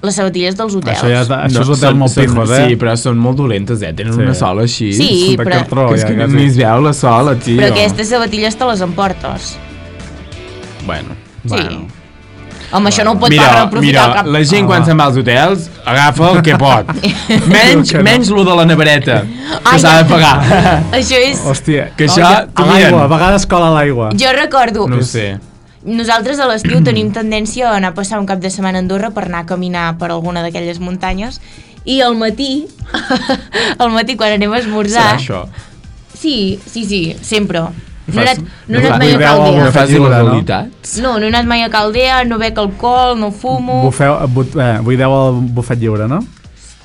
S2: les sabatilles dels hotels.
S1: Això, ja, és de- això és hotel
S3: són-
S1: molt
S3: són-
S1: pijos, eh?
S3: Sí, però són molt dolentes, eh? Tenen
S1: Sí.
S3: una sola així.
S2: Sí,
S1: de
S2: però-
S1: cartró,
S3: que és
S1: ja,
S3: que
S1: quasi.
S3: ni es veu la sola, tio.
S2: Però aquestes sabatilles te les emportes.
S3: Bueno.
S1: Bueno.
S2: Sí. Home, això no ho pot pas
S3: Mira,
S2: reprofitar
S3: mira,
S2: cap...
S3: la gent quan
S1: Ah.
S3: se'n va als hotels agafa el que pot. Menys,
S1: Que no.
S3: menys lo de la nevereta, que
S2: Ai,
S3: s'ha de
S2: no.
S3: pagar.
S2: Això és...
S1: Hòstia,
S3: Que això,
S1: a
S3: tu
S1: l'aigua,
S3: miren.
S1: a vegades cola l'aigua.
S2: Jo recordo...
S3: No ho sé.
S2: Nosaltres a l'estiu tenim tendència a anar a passar un cap de setmana a Andorra per anar a caminar per alguna d'aquelles muntanyes i al matí, al matí quan anem a
S3: Serà
S2: esmorzar...
S3: això.
S2: Sí, sí, sí, sempre. No he
S3: Fas-
S2: anat, no he
S1: no
S2: anat mai a
S1: buideu
S2: Caldea.
S3: Una
S1: Una
S3: fase de
S1: figura,
S3: les
S1: no?
S3: habilitats.
S2: No, no he anat mai a Caldea, no bec alcohol, no fumo...
S1: Bufeu, but, eh, buideu el bufet lliure, no?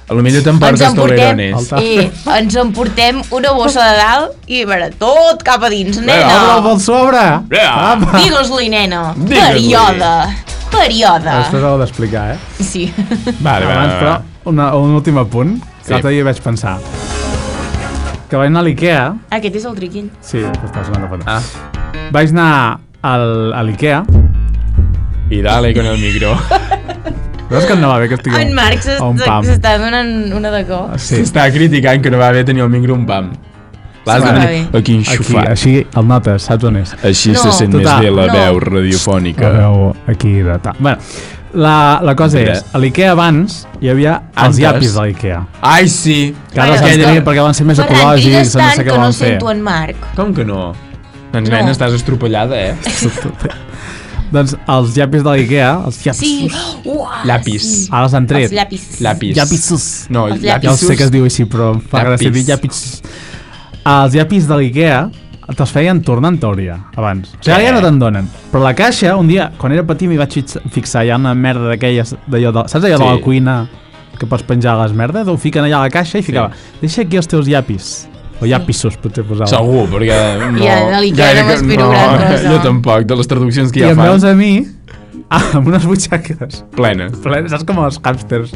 S3: A lo millor
S2: ens
S3: t'emportes
S2: emportem,
S3: tolerones.
S1: Alta.
S2: eh, ens emportem una bossa de dalt i a veure, tot cap a dins,
S1: Obre el
S2: nena.
S1: pel sobre!
S3: Vinga.
S1: Apa!
S2: Digues-li, nena.
S3: Digues-li.
S2: Període.
S1: Això
S2: Període.
S1: s'ha d'explicar, eh?
S2: Sí.
S3: Vale,
S1: Abans,
S3: vale,
S1: però,
S3: vale.
S1: una, un últim apunt, que
S3: Sí.
S1: l'altre dia vaig pensar. Que vaig anar a l'IKEA...
S2: Aquest és el triquill.
S1: Sí, que està sonant de fons.
S3: Ah,
S1: Vaig anar al, a l'IKEA.
S3: i dale con el micro.
S1: Veus que em anava bé que estigui
S2: En Marc s'est-
S1: a un pam?
S2: s'està donant una de cop.
S1: Sí,
S3: S'està criticant que no va haver tenir el micro un pam. L'has de
S2: Sí, va
S3: tenir
S2: bé.
S3: aquí
S1: aquí,
S3: enxufat.
S1: així el notes, saps on és?
S3: Així
S2: No.
S3: se sent
S1: Total.
S3: més bé la
S2: No.
S3: veu radiofònica.
S1: La veu aquí de tal. Bueno, la, la cosa
S3: Mira.
S1: és, a l'IKEA abans hi havia els
S3: Antes.
S1: llapis de l'IKEA.
S3: Ai, sí.
S1: Que ara
S2: Ai,
S1: els
S2: és
S1: han
S2: que-
S1: tenir perquè van ser més
S2: Ferran,
S1: ecològics,
S2: digues
S1: o no
S2: tant
S1: sé
S2: que
S1: què
S2: no
S1: van fer.
S2: sento en Marc.
S3: Com que no? Doncs
S2: No.
S3: nena, estàs estropellada, eh?
S1: Doncs els llapis de l'IKEA, els llapis,
S2: Sí. Oh, Uah,
S3: Llapis.
S2: sí.
S1: ara els han
S2: Els
S1: tret.
S2: llapis.
S3: Llapis.
S1: Llapisos.
S3: No,
S2: Els
S3: llapis.
S1: Ja ho sé que es diu així, però em fa gràcia
S3: Llapis.
S1: dir llapis. Els llapis de l'IKEA te'ls feien tornar en teoria, abans. O sigui, ara ja no te'n donen. Però la caixa, un dia, quan era petit, m'hi vaig fix- fixar, hi ha una merda d'aquelles, d'allò de, saps allò sí. de
S3: Sí.
S1: la cuina que pots penjar les merdes? Ho fiquen allà a la caixa i ficava, deixa aquí els teus llapis. O llapissos, potser posava.
S3: Segur, perquè no...
S2: Ja, de l'Ikea
S3: era
S2: no
S3: que-
S2: m'espero gran cosa.
S3: Jo tampoc, de les traduccions que
S1: I
S3: ja
S1: em veus
S3: fan,
S1: a mi amb unes butxaques
S3: plenes.
S1: plenes, saps com els hàmsters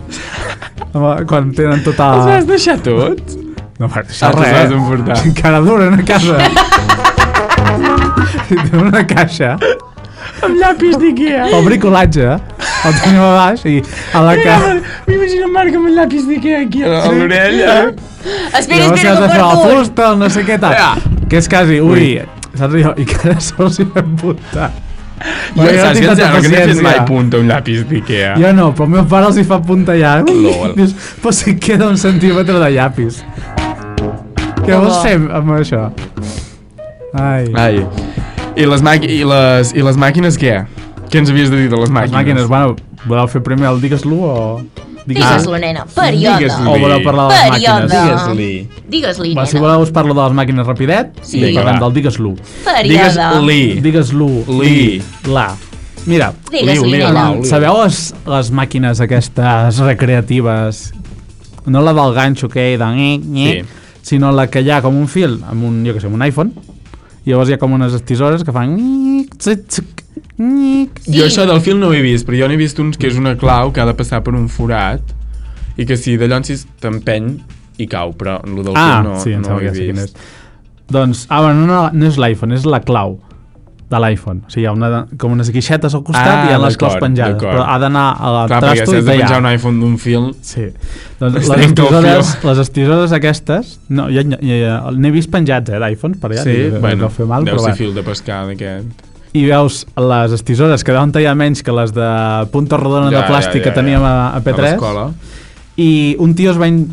S1: Amb- quan tenen tota...
S3: Els has deixat tots?
S1: No, va, això
S3: Ah,
S1: és
S3: te'ls
S1: res.
S3: vas emportar.
S1: Si Encara duren a casa. si tenen una caixa,
S3: Amb llapis d'Ikea.
S1: pel bricolatge, el tenim a baix i a la ca...
S3: M'imagino en Marc amb el llapis d'Ikea aquí a l'orella.
S2: Espera,
S1: Llavors has
S2: espera, que
S1: de fer la
S2: porto un.
S1: fusta, el no sé què tal.
S3: Ja.
S1: Que és quasi, ui, Ah. saps allò? I cada sol s'hi va empuntar.
S3: Jo
S1: Bueno,
S3: saps
S1: tinc
S3: que
S1: tanta
S3: em sembla que no he fet
S1: paciència.
S3: mai punta un llapis d'Ikea.
S1: Jo no, però el meu pare els hi fa puntallar.
S3: Lol.
S1: Dius, però si queda un centímetre de llapis. Què vols
S2: Oh.
S1: fer amb això? Ai.
S3: Ai. I les, maqui i les, I les màquines què? Què ens havies de dir de les
S1: Les
S3: màquines?
S1: màquines, bueno, voleu fer primer el digues-lo o...
S2: Digues-lo, nena. Període.
S1: O voleu parlar de les
S2: Període.
S1: màquines?
S3: Digues-li.
S2: Digues-li,
S1: Va, si
S2: nena.
S1: voleu us parlo de les màquines rapidet
S2: Sí.
S1: i
S2: Vinga,
S1: parlem
S3: va.
S1: del digues-lo.
S2: Període.
S3: Digues-li.
S1: Digues-lo.
S3: Li.
S1: La. Mira,
S2: Digues-li,
S3: Liu, Liu,
S2: nena.
S3: Liu.
S1: sabeu les, les màquines aquestes recreatives? No la del ganxo que hi de... Nye, nye,
S3: Sí.
S1: sinó la que hi ha com un fil, amb un, jo que sé, amb un iPhone, i llavors hi ha com unes tisores que fan... nyic, tzic, tzic, nyic.
S3: Jo això del fil no ho he vist, però jo n'he vist uns que és una clau que ha de passar per un forat i que si d'allò en sis t'empeny i cau, però el del
S1: Ah,
S3: fil no,
S1: sí, em
S3: no ho
S1: sembla
S3: he
S1: que sé quin és.
S3: vist.
S1: Doncs, ah, bueno, no, no és l'iPhone, és la clau de l'iPhone. O sigui, hi ha una, com unes guixetes al costat
S3: Ah,
S1: i hi ha les claus
S3: d'acord,
S1: penjades,
S3: d'acord.
S1: però ha d'anar a la
S3: Clar, perquè
S1: trasto
S3: si
S1: i
S3: has de
S1: tallar.
S3: penjar un iPhone d'un fil...
S1: Sí. Doncs
S3: Es
S1: les
S3: trenca el
S1: estisores,
S3: fil.
S1: les estisores aquestes... No, ja, ja, ja n'he vist penjats, eh, d'iPhones, per allà.
S3: Sí,
S1: no
S3: bueno,
S1: deu fer mal,
S3: deu
S1: però
S3: ser
S1: va.
S3: fil de pescar d'aquest.
S1: I veus les estisores que deuen tallar menys que les de punta rodona de plàstic que teníem a, a
S3: A
S1: P3.
S3: l'escola.
S1: i un tio es va, in...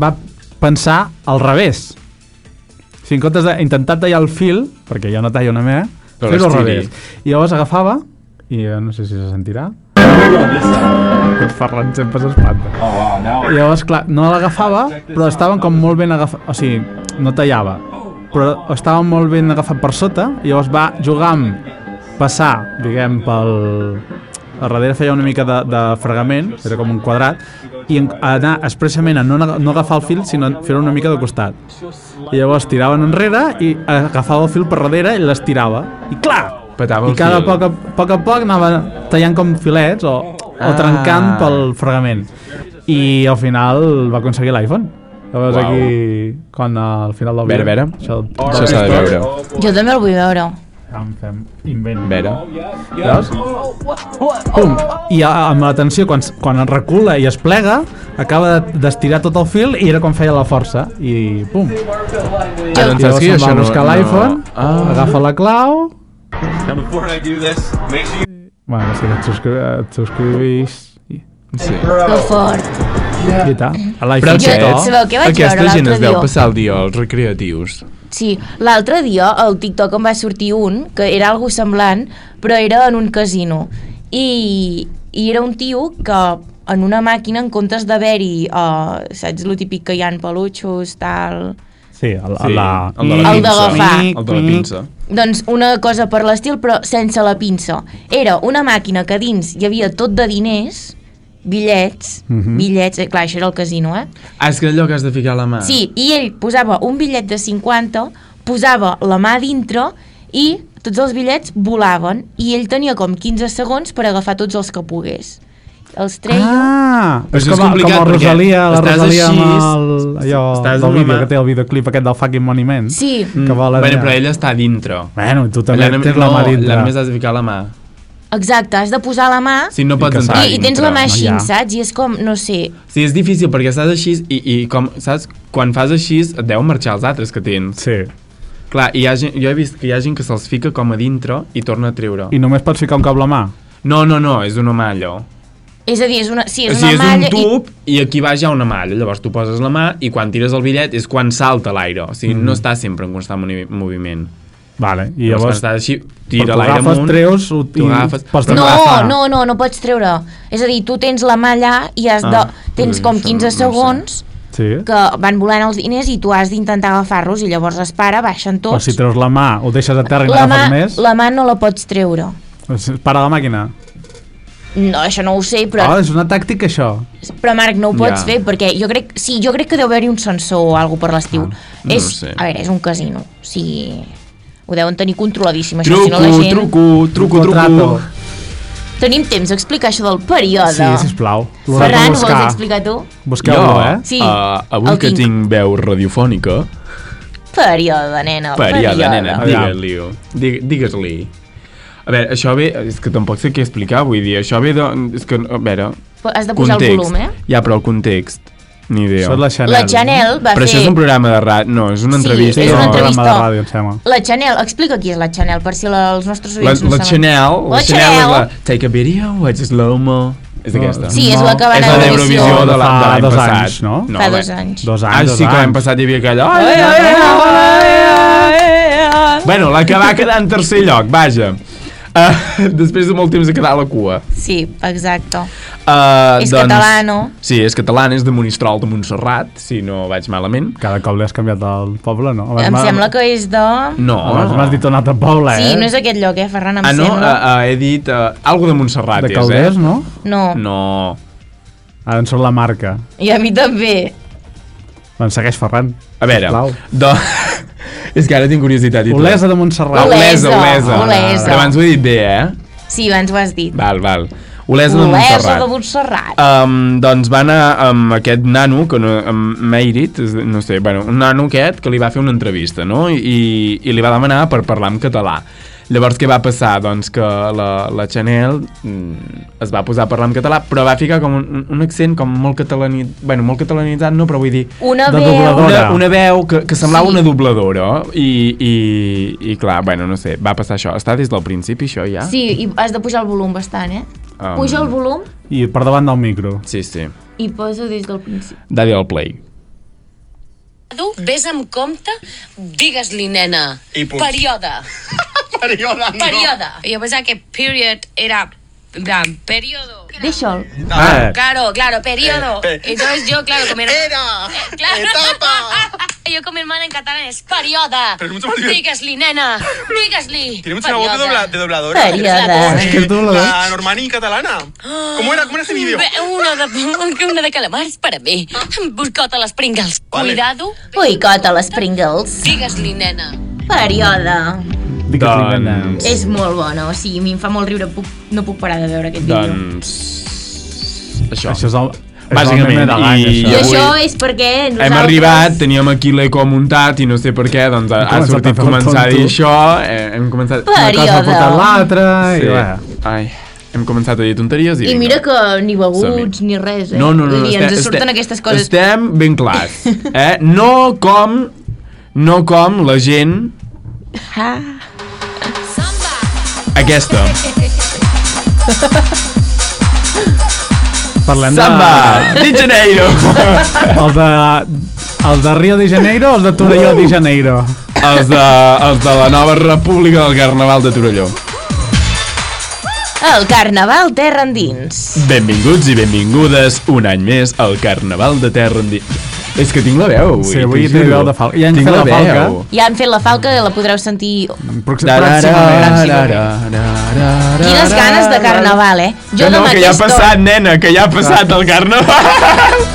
S1: va pensar al revés. O sigui, en comptes d'intentar tallar el fil, perquè ja no talla una mena,
S3: Però
S1: fer-ho al
S3: l'estiri.
S1: revés. I llavors agafava, i eh, no sé si se sentirà... El Ferran sempre s'espanta. I llavors, clar, no l'agafava, però estaven com molt ben agafat... O sigui, no tallava, però estava molt ben agafat per sota, i llavors va jugar amb passar, diguem, pel... A darrere feia una mica de, de fregament, era com un quadrat, i en- anar expressament a no, aga- no agafar el fil, sinó a fer-ho una mica de costat. I llavors tiraven enrere i agafava el fil per darrere i l'estirava. I clar! I
S3: Petava el
S1: cada
S3: fil.
S1: poc a, poc a poc anava tallant com filets o, o trencant
S3: Ah.
S1: pel fregament. I al final va aconseguir l'iPhone. Llavors
S3: Uau.
S1: aquí, quan al final del
S3: Vera, Vera.
S1: Això,
S3: Això s'ha de veure.
S2: Jo també el vull veure.
S1: En fem invent.
S3: Vera.
S1: Veus? Pum! I a- amb la tensió, quan, s- quan es recula i es plega, acaba de- d'estirar tot el fil i era quan feia la força. I pum!
S3: Ah,
S1: I
S3: doncs saps
S1: llavors se'n va
S3: que jo això
S1: a
S3: no...
S1: buscar
S3: no-
S1: l'iPhone,
S3: Ah.
S1: agafa la clau...
S4: Before I do this, make sure you
S1: Bueno, si et, subscri et subscrivís... I,
S3: Sí.
S2: Que fort.
S1: i tal. A
S3: Però
S1: l'iPhone
S2: Jo-
S1: Store.
S3: aquest,
S2: sabeu què vaig
S3: aquesta
S2: veure
S3: gent
S2: l'altre
S3: es deu
S2: dia?
S3: passar el dia als recreatius.
S2: Sí, l'altre dia al TikTok em va sortir un que era algo semblant, però era en un casino. I, i era un tio que en una màquina, en comptes d'haver-hi, uh, saps, lo típic que hi ha peluixos, tal...
S1: Sí, a, a
S3: Sí,
S1: la...
S3: el de la
S2: El
S3: pinça.
S2: d'agafar.
S3: El de la pinça.
S2: Doncs una cosa per l'estil, però sense la pinça. Era una màquina que dins hi havia tot de diners, bitllets,
S1: Mhm.
S2: bitllets, eh, clar, això era el casino, eh?
S3: Ah, és que allò que has de ficar la mà.
S2: Sí, i ell posava un bitllet de 50, posava la mà dintre i tots els bitllets volaven i ell tenia com 15 segons per agafar tots els que pogués. Els treia...
S1: Ah,
S3: Però
S1: és,
S3: això
S1: com,
S3: és
S1: a- com
S3: complicat
S1: el
S3: perquè
S1: Rosalia, la
S3: estàs
S1: Rosalia amb
S3: així,
S1: el, allò,
S3: estàs
S1: del
S3: amb la
S1: vídeo
S3: mà.
S1: que té, el videoclip aquest del fucking Monument.
S2: Sí,
S1: Que vol
S3: Mm. bueno, però ella està dintre.
S1: Bueno, tu també
S3: Allà només-
S1: tens la mà
S3: no,
S1: dintre.
S3: allà només has de ficar la mà.
S2: exacte, has de posar la mà
S3: Si no
S1: I
S3: pots
S1: que
S3: entrar
S1: s'ha-
S2: i, i tens la mà així,
S1: no hi ha.
S2: saps? I és com, no sé,
S3: Sí, és difícil perquè estàs així i, i com, saps? Quan fas així et deuen marxar els altres que tens.
S1: Sí.
S3: Clar, i hi ha gent, jo he vist que hi ha gent que se'ls fica com a dintre i torna a treure.
S1: I només pots ficar un cop la mà.
S3: No, no, no, és una mà allò.
S2: és a dir, és una, sí,
S3: o
S2: és una
S3: sigui, és un
S2: malla i
S3: tub i... aquí baix hi ha una malla. Llavors tu poses la mà i quan tires el bitllet és quan salta a l'aire. O sigui, no està sempre en constant movi- moviment.
S1: Vale, Mm-hmm. i
S3: Llavors, quan
S1: llavors...
S3: estàs així,
S1: però
S3: tira
S1: tu
S3: l'aire
S1: agafes,
S3: amunt.
S1: treus, ho-
S3: tu
S1: i
S3: agafes...
S1: pots
S3: Però-
S1: tornar a
S2: No,
S1: agafar.
S2: no, no, no pots treure. És a dir, tu tens la mà allà i has
S3: Ah,
S2: de... Tens
S3: sí,
S2: com
S3: això no-
S2: 15
S3: no ho sé.
S2: segons
S1: Sí.
S2: que van volant els diners i tu has d'intentar agafar-los i llavors es para, baixen
S1: O
S2: tots.
S1: si treus la mà o deixes a terra i
S2: la, mà,
S1: n'agafes més,
S2: la mà no la pots treure.
S1: es para la màquina.
S2: No, això no ho sé, però,
S1: Ah, és una tàctica, això.
S2: però Marc, no ho pots
S3: Ja.
S2: fer perquè jo crec, sí, jo crec que deu haver-hi un sensor o alguna per l'estiu.
S3: Ah, no
S2: és,
S3: ho sé.
S2: A veure, és un casino. O sigui, ho deuen tenir controladíssim, això,
S3: Truco,
S2: si no la gent...
S3: truco, truco, truco.
S1: Contrato.
S2: Tenim temps d'explicar això del període.
S1: Sí, sisplau. L'heu de
S2: Ferran, ho
S1: buscar.
S2: vols explicar tu?
S1: Busqueu-lo, eh?
S2: Sí,
S3: ah, avui
S2: el
S3: que
S2: tinc.
S3: tinc veu radiofònica,
S2: Període, nena, període.
S3: període, nena,
S1: Aviam.
S3: digue-li. Digue- Digues-li. A veure, això ve... És que tampoc sé què explicar, vull dir. Això ve de... És que, a veure,
S2: Has de posar
S3: context.
S2: el volum, eh?
S3: Ja, però el context, ni idea.
S1: Això és la Chanel.
S2: La Chanel va
S3: Però
S2: fer...
S3: això és un programa de ràdio, no, és una
S2: Sí,
S3: entrevista.
S2: és una
S1: no,
S3: No,
S2: entrevista.
S1: programa de ràdio, em sembla.
S2: La Chanel, explica qui és la Chanel, per si la, els nostres
S3: La,
S2: oients
S3: la
S2: no saben.
S3: Chanel, la,
S2: La
S3: Chanel és
S2: Chanel.
S3: la... Take a video, it's slow-mo. És aquesta.
S1: Oh,
S2: Sí, és la que va
S3: és
S2: anar
S3: la
S2: a
S3: d'Eurovisió
S2: Eurovisió.
S3: de la- de
S1: Fa
S3: l'any
S1: dos
S3: passat.
S1: anys, no?
S2: Fa
S3: bé.
S2: dos anys.
S1: Dos
S3: Ah,
S1: anys, dos
S3: sí que l'any
S1: anys.
S3: passat hi havia aquella... Ai, ai, ai, ai, ai, ai, ai, ai. Bueno, la que va quedar en tercer lloc, vaja. Uh, després de molt temps de quedar a la cua.
S2: Sí, exacte.
S3: Uh,
S2: És català, no?
S3: Sí, és català, és de Monistrol de Montserrat, si no vaig malament.
S1: Cada cop li has canviat el poble, no?
S2: Em sembla que és de...
S3: No.
S1: Abans Ah, m'has dit un altre poble, eh?
S2: Sí, no és aquest lloc, eh, Ferran, em
S3: Ah, no?
S2: sembla.
S3: Uh, uh, he dit uh, algo de Montserrat,
S1: De
S3: és,
S1: Calders, no?
S2: No.
S3: eh? No.
S1: Ara en surt la marca.
S2: I a mi també.
S1: Me'n segueix Ferran.
S3: A veure,
S1: Sisplau.
S3: do... és que ara tinc curiositat. i tot.
S1: Olesa de Montserrat.
S2: Ole-
S3: Olesa, Olesa.
S2: Olesa. Olesa.
S3: Però abans ho he dit bé, eh?
S2: Sí, abans ho has dit.
S3: Val, val. Olesa, de
S2: Olesa
S3: Montserrat.
S2: de Montserrat.
S3: Um, doncs va anar amb aquest nano, que no, amb Meirit, es- no sé, bueno, un nano aquest que li va fer una entrevista, no? I, i li va demanar per parlar en català. Llavors què va passar? Doncs que la, la Chanel mm, es va posar a parlar en català, però va ficar com un, un accent com molt catalanitzat, bueno, molt catalanitzat no, però vull dir...
S2: Una
S1: de
S2: veu...
S1: doblador.
S3: Una,
S1: Dora.
S3: una veu que, que semblava
S2: Sí.
S3: una dobladora oh? i, i, i clar, bueno, no sé, va passar això. Està des del principi això ja?
S2: Sí, i has de pujar el volum bastant, eh?
S3: Um.
S2: Puja el volum
S1: I per davant del micro.
S3: Sí, sí.
S2: i posa des del principi.
S3: Daddy al play.
S5: Tu vés amb compte, digues-li, nena.
S6: I punt.
S5: Període.
S6: Període, no.
S5: Període. Jo pensava que period era... en plan, Período.
S2: Deixa'l.
S1: Ah, eh.
S5: Claro, claro, periodo.
S6: Eh, pe-
S5: Entonces yo, claro, como era...
S6: Era.
S5: Claro.
S6: Etapa.
S5: Yo con mi hermana en catalán es perioda.
S6: Pero mucho más divertido.
S5: Dígasli, nena. Dígasli.
S6: Tiene mucha voz de, dobla, de dobladora. Eh,
S2: Període.
S1: Es que es dobladora.
S6: La normani catalana. ¿Cómo era, cómo era ese vídeo?
S5: Una de, una de calamars per a mi. Buscota a les Pringles.
S6: Vale.
S5: Cuidado.
S2: Boicota les Pringles.
S5: Dígasli, nena.
S2: Període.
S1: Digues-li, nena.
S3: Doncs...
S2: És molt bona, o sigui, a mi em fa molt riure, puc, no puc parar de veure aquest vídeo.
S3: Doncs...
S2: Eh,
S3: Això.
S1: Això és el... és
S3: Bàsicament,
S1: el meme de l'any,
S3: i-
S2: I
S1: això.
S2: això
S3: avui
S2: és perquè nosaltres...
S3: Hem arribat, teníem aquí l'eco muntat i no sé per què, doncs ha, ha
S1: començat a
S3: sortit
S1: fer el
S3: començar a dir
S1: tonto.
S3: això, eh, hem començat...
S1: Una cosa ha
S2: Període.
S1: portat l'altra, i va.
S3: Sí. Ai, hem començat a dir tonteries i...
S2: I
S3: vinga.
S2: mira que ni
S3: Som-hi.
S2: beguts ni res, eh?
S3: No, no, no.
S2: Vull
S3: no
S2: dir, ens
S3: estem-
S2: surten
S3: estem-
S2: aquestes coses.
S3: Estem ben clars. Eh? No com... No com la gent... Aquesta.
S1: Parlem de...
S3: Samba! De Janeiro!
S1: El de... El de Rio de Janeiro o el de Torelló de Janeiro?
S3: els, de, els de la nova república del Carnaval de Torelló.
S2: El carnaval terra endins.
S3: Benvinguts i benvingudes un any més al Carnaval de Terra Endins. És que tinc la veu avui.
S1: Sí, avui
S3: t'ho
S1: té
S3: juro.
S1: veu de falca. Ja ens
S3: tinc
S1: fa
S3: la
S1: la falca.
S3: veu.
S2: Ja han fet la falca, la podreu sentir...
S1: Prox-
S2: Pròximament. Quines ganes de carnaval, eh?
S3: Jo no,
S2: demà
S3: que ja ha
S2: aquesta hora-
S3: passat, nena, que ja ha passat el carnaval.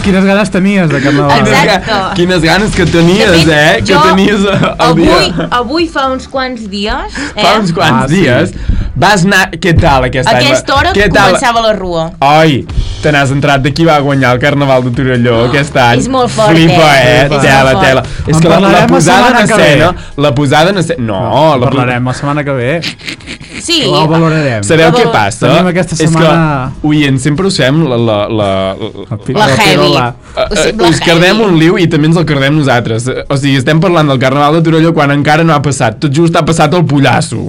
S1: Quines ganes tenies de carnaval?
S2: Exacte.
S3: Quines ganes que tenies, eh? Que
S2: jo
S3: tenies eh, el
S2: avui,
S3: dia.
S2: Avui fa uns quants dies, eh?
S3: Fa uns quants
S1: Ah, sí.
S3: dies vas anar... Què tal aquest
S2: A
S3: any?
S2: aquesta hora
S3: Què tal?
S2: començava la rua.
S3: Ai, te n'has entrat de qui va guanyar el Carnaval de Torelló oh, aquest any.
S2: Ah, és molt fort,
S3: Flipa,
S2: eh?
S3: eh?
S2: És molt
S3: Tela,
S2: fort.
S3: tela. És
S1: En
S3: que la, la
S1: parlarem la
S3: posada en
S1: setmana que
S3: escena... La posada en escena... No,
S1: en
S3: la po-
S1: parlarem la setmana que ve.
S2: Sí,
S1: Ho valorarem.
S3: Sabeu
S2: La
S3: què
S2: po-
S3: passa?
S1: Tenim aquesta setmana-
S3: És que, oients, sempre us fem la... la, la, la
S2: la
S1: La
S2: heavy.
S1: pirola.
S2: O sigui, la
S3: us cardem
S2: heavy.
S3: un liu i també ens el cardem nosaltres. Eh, O sigui, estem parlant del Carnaval de Torelló quan encara no ha passat. Tot just ha passat el pollasso.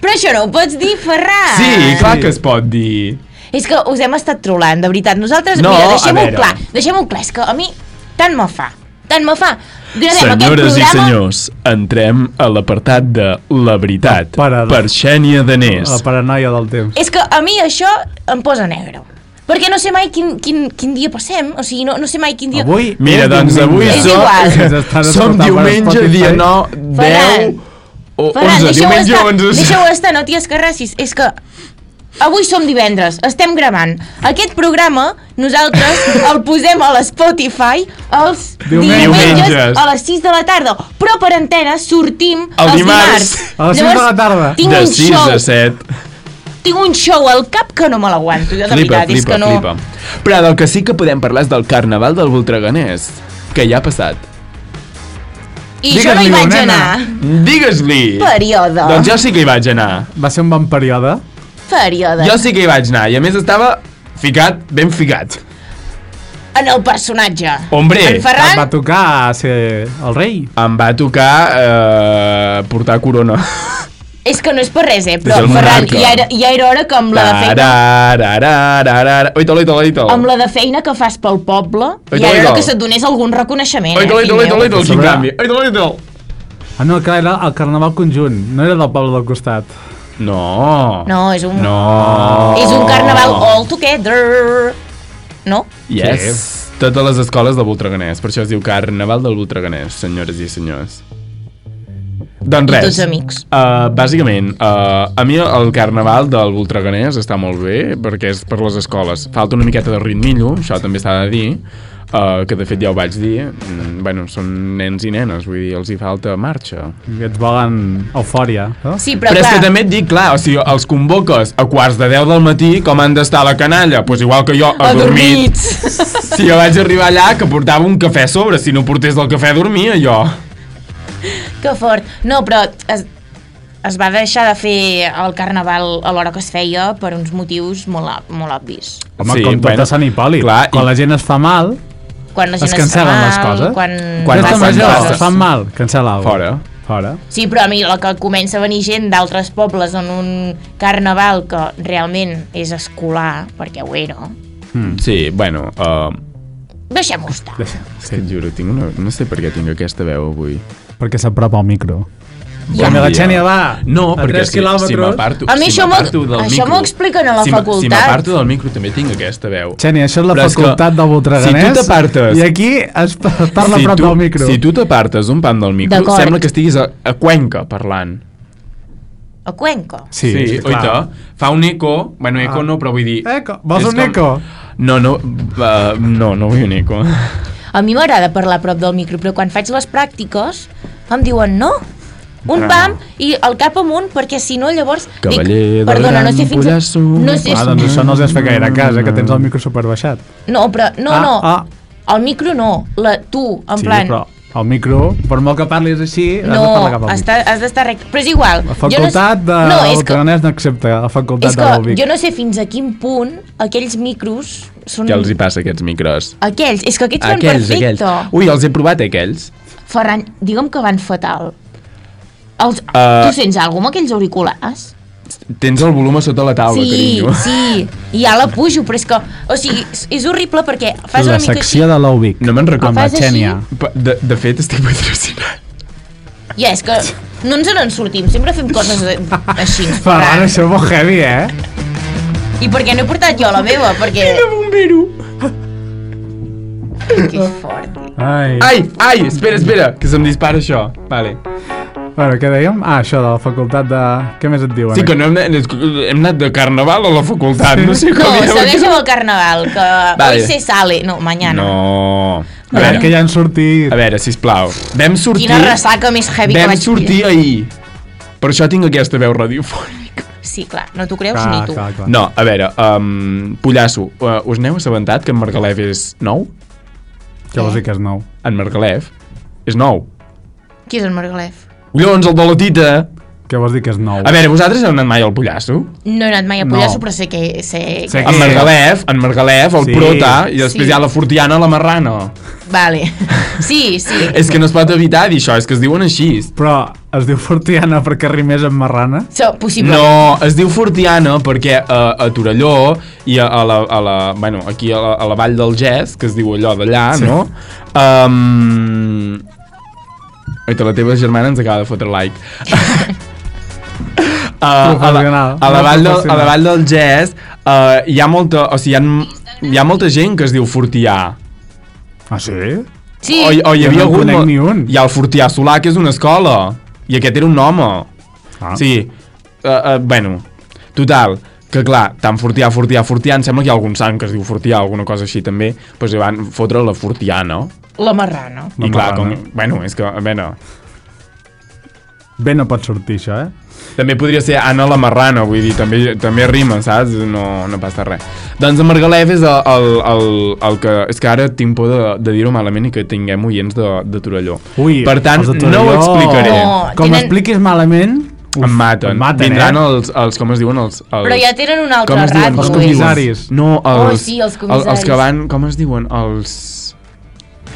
S2: Però això no ho pots dir, Ferran!
S3: Sí, clar que es pot dir.
S2: És que us hem estat trolant, de veritat. Nosaltres,
S3: No,
S2: mira,
S3: a
S2: deixem-ho
S3: veure.
S2: clar. Deixem-ho clar, és que a mi tant me fa. Tant me fa. Gravem
S3: Senyores
S2: aquest
S3: i
S2: programa...
S3: senyors, entrem a l'apartat de La veritat
S1: La parada.
S3: per Xènia Danés.
S1: La paranoia del temps.
S2: És que a mi això em posa negre. Perquè no sé mai quin, quin, quin dia passem, o sigui, no, no sé mai quin dia...
S1: Avui
S3: Mira,
S1: és
S3: doncs avui
S1: diumenge.
S2: És
S3: som,
S2: igual.
S1: Ens estan
S3: som
S1: escoltant per
S3: diumenge,
S1: Spotify.
S3: dia 9, 10, o
S2: Ferran,
S3: 11,
S2: deixeu-ho
S3: diumenge
S2: estar,
S3: 11.
S2: deixeu estar, no t'hi escarrassis. És que avui som divendres, estem gravant. Aquest programa nosaltres el posem a l'Spotify els
S1: Diumenges.
S2: diumenges,
S3: Diumenges.
S2: a les 6 de la tarda, però per antena sortim
S3: El
S2: els
S3: dimarts.
S2: dimarts.
S1: A les 6 de la tarda.
S2: Tinc
S3: de
S2: un
S3: 6
S2: show,
S3: a 7.
S2: tinc un show al cap que no me l'aguanto, jo de
S3: Flipa,
S2: veritat, és
S3: flipa,
S2: que no...
S3: flipa. Però del que sí que podem parlar és del carnaval del Voltreganès, que ja ha passat.
S2: I jo no hi
S1: Digues-li-ho,
S2: vaig
S1: nena.
S2: anar.
S3: Digues-li!
S2: Període.
S3: Doncs jo sí que hi vaig anar.
S1: Va ser un bon període.
S2: Període.
S3: Jo sí que hi vaig anar i a més estava ficat, ben ficat.
S2: En el personatge.
S3: Hombre,
S2: en
S1: Et va
S2: Ferran,
S1: tocar ser el rei.
S3: Em va tocar eh, portar corona.
S2: és que no és per res, eh? Però,
S3: Des del
S2: Ferran,
S3: monarca.
S2: ja era, ja era hora que amb la de feina
S3: Tarararararara. Oito, oito, oito.
S2: amb la de feina que fas pel poble
S3: Oi,
S2: i ara
S3: oi, oi.
S2: que se't donés algun reconeixement,
S3: Oito,
S2: eh,
S3: oito,
S2: fill
S3: oito,
S2: meu.
S3: oito, quin
S1: Sobre-
S3: canvi. Oito, oito.
S1: Ah, no, clar, era el carnaval conjunt. No era del poble del costat.
S3: No.
S2: No, Oh, és un,
S3: No.
S2: és un carnaval all together. No?
S3: Yes. Totes les escoles del Voltreganès. Per això es diu Carnaval del Voltreganès, senyores i senyors. Doncs
S2: I
S3: res.
S2: tots amics.
S3: Uh, bàsicament, uh, a mi el carnaval del Voltreganès està molt bé perquè és per les escoles. Falta una miqueta de ritmillo, això també s'ha de dir, uh, que de fet ja ho vaig dir. Mm, bueno, són nens i nenes, vull dir, els hi falta marxa.
S1: I et volen eufòria. No?
S2: Sí,
S3: Però,
S2: però,
S3: Però és
S2: clar,
S3: que també et dic, clar, o sigui, els convoques a quarts de 10 del matí, com han d'estar a la canalla? Doncs pues igual que jo, adormit.
S2: adormits.
S3: Si jo vaig arribar allà que portava un cafè a sobre, si no portés el cafè dormia jo.
S2: Que fort. No, però es, es va deixar de fer el carnaval a l'hora que es feia per uns motius molt, ob- molt obvis.
S1: Home,
S3: Sí,
S1: sí, com tot
S3: bueno,
S1: a Sant Hipòlit.
S3: clar, i-
S1: quan la gent es fa mal,
S2: Quan la
S1: es
S2: gent
S1: cancel·len
S2: fa
S1: les
S2: mal,
S1: coses.
S2: Quan,
S3: Quan
S1: Festa
S3: passen
S1: major,
S3: coses.
S1: es fan mal, cancel·la-ho.
S3: Fora.
S1: Fora.
S2: Sí, però a mi la que comença a venir gent d'altres pobles en un carnaval que realment és escolar, perquè ho era,
S3: Mm, Sí, bueno, uh,
S2: deixem-ho estar.
S3: és que et juro, tinc una... no sé per què tinc aquesta veu avui.
S1: Perquè s'apropa al micro.
S3: Bon
S1: També la
S3: dia.
S1: Xènia va
S3: No,
S1: a
S3: perquè
S1: tres
S3: si, si
S1: quilòmetres.
S3: m'aparto
S2: A mi
S3: si
S2: això m'ho-
S3: m'aparto del
S2: això
S3: micro-
S2: m'ho expliquen a la
S3: si m'a- Si
S2: facultat.
S3: m'aparto del micro també tinc aquesta veu.
S1: Xènia, això és la
S3: Però és que
S1: facultat del Voltreganès.
S3: si tu t'apartes-
S1: I aquí es pa- es parla a
S3: si
S1: prop
S3: tu,
S1: del micro.
S3: Si tu t'apartes un pam del micro,
S2: D'acord.
S3: sembla que estiguis a, a Cuenca parlant.
S2: A Cuenca.
S1: Sí,
S3: sí
S1: clar.
S3: oita, fa un eco, bueno, eco
S1: Ah.
S3: no, però vull dir...
S1: Eco. Vols
S3: és
S1: un eco?
S3: No, no, uh, no, no vull un eco.
S2: A mi m'agrada parlar a prop del micro, però quan faig les pràctiques em diuen no. Un
S3: Ah.
S2: pam i el cap amunt, perquè si no llavors...
S3: Cavaller de
S2: dic, perdona, no sé fins... a-
S3: Rampollasso.
S2: No sé...
S1: Ah, doncs això no els has fet gaire cas, eh, que tens
S3: Mm.
S1: el micro superbaixat.
S2: No, però... No,
S1: Ah,
S2: no.
S1: ah.
S2: El micro no. La, tu, en
S1: sí,
S2: plan...
S1: però el micro, per molt que parlis així, has de
S2: No,
S1: parlar cap al
S2: has
S1: micro.
S2: de- has d'estar recte. Però és igual.
S1: La
S2: jo
S1: facultat de
S2: no, és que,
S1: Voltreganès no accepta la facultat
S2: és
S1: de
S2: que
S1: Volvic.
S2: jo no sé fins a quin punt aquells micros són...
S3: Què els hi passa, a aquests micros?
S2: Aquells, és que aquests van
S3: Aquells, aquells.
S2: perfecte.
S3: Ui, els he provat, aquells.
S2: Ferran, digue'm que van fatal. Els,
S3: Eh.
S2: Tu sents alguna amb aquells auriculars?
S3: Tens el volum a sota la taula,
S2: sí,
S3: carinyo.
S2: sí, i ja la pujo, però és que, o sigui, és- és horrible perquè fas
S1: La
S2: una mica així,
S1: secció de l'Ubic.
S3: No me'n recordo.
S1: Amb la
S2: Fas així?
S1: Xènia.
S3: Pa- De, de fet, estic patrocinat.
S2: i ja, és que no ens en sortim, sempre fem coses eh, així.
S1: Ferran,
S2: Ferran.
S1: això és molt heavy, eh?
S2: I per què no he portat jo la meva? Perquè...
S3: Bombero!
S2: Que fort.
S1: Ai.
S3: Ai, ai, espera, espera, que se'm dispara això. Vale.
S1: Bueno, què dèiem? Ah, això de la facultat de... Què més et diuen?
S3: Sí, que no hem, anat, hem anat de carnaval a la facultat, no sé
S2: No,
S3: com... hi ha-
S2: segueix amb el carnaval, que
S3: Vale.
S2: hoy se sale. No, mañana.
S3: No...
S1: A
S3: A
S1: veure, que
S3: veure,
S1: ja han sortit...
S3: a veure, sisplau. Vam sortir...
S2: Quina ressaca més heavy que
S3: Vam
S2: vaig
S3: sortir ahir. Per això tinc aquesta veu radiofònica.
S2: Sí, clar, no t'ho creus
S1: Clar,
S2: ni tu.
S1: clar, clar.
S3: No, a veure, um, Pollasso, uh, us n'heu assabentat que en Margalef és nou?
S1: Què vols dir que és nou?
S3: En Margalef és nou.
S2: Qui és el Margalef?
S3: Collons, el de la tita!
S1: Què vols dir que és nou?
S3: A veure, vosaltres heu anat mai al Pollasso?
S2: No he anat mai a
S1: No.
S2: Pollasso, però sé que... Sé
S1: Sé que-
S2: que...
S3: En Margalef, Eh, en Margalef, el
S1: Sí.
S3: sí. Prota, i després
S2: Sí.
S3: hi ha la Fortiana, la Marrana.
S2: Vale. Sí, sí.
S3: És que no es pot evitar dir això, és que es diuen així.
S1: Però es diu Fortiana perquè rimés amb marrana?
S2: So, possible.
S3: No, es diu Fortiana perquè a, a Torelló i a, a, la, a la, bueno, aquí a la, a la vall del Gès, que es diu allò d'allà,
S1: Sí.
S3: sí. no? Um, Oita, la teva germana ens acaba de fotre like. Uh, a, la,
S1: Professional,
S3: a, la
S1: una
S3: vall del, a la
S1: professional.
S3: vall del Gès uh, hi ha eh, molta... O sigui, hi ha hi ha molta gent que es diu Fortià.
S1: Ah, sí?
S2: Sí,
S3: O, o hi
S1: Jo
S3: havia
S1: no en
S3: algun...
S1: conec ni un.
S3: Hi ha el Fortià Solà, que és una escola. I aquest era un home.
S1: Ah.
S3: Sí. Uh, uh, bueno, total, que clar, tant Fortià, Fortià, Fortià, em sembla que hi ha algun sant que es diu Fortià, alguna cosa així també, doncs li van fotre la Fortià, no?
S2: la marrana.
S1: La
S3: I clar, com,
S1: marrana.
S3: bueno, és que, a veure,
S1: Bé no pot sortir això, eh?
S3: també podria ser Anna la Marrana, vull dir, també, també rima, saps? No, no passa res. Doncs en Margalef és el, el, el, el que... És que ara tinc por de, de dir-ho malament i que tinguem oients de, de Torelló.
S1: Ui,
S3: per tant,
S1: els de
S3: no ho
S1: Torelló.
S3: explicaré.
S2: No.
S1: Com
S2: tenen-
S1: expliquis malament... Uf,
S3: Oh, Em maten.
S1: Em maten,
S3: Vindran
S1: eh?
S3: els, els, com es diuen, els... els
S2: Però ja tenen una
S3: com es
S2: altra
S3: diuen?
S2: ràdio.
S1: Els
S2: ells.
S1: comissaris.
S3: No, els...
S2: Oh, sí, els
S3: el- Els que
S2: comissaris.
S3: van, com es diuen? Els...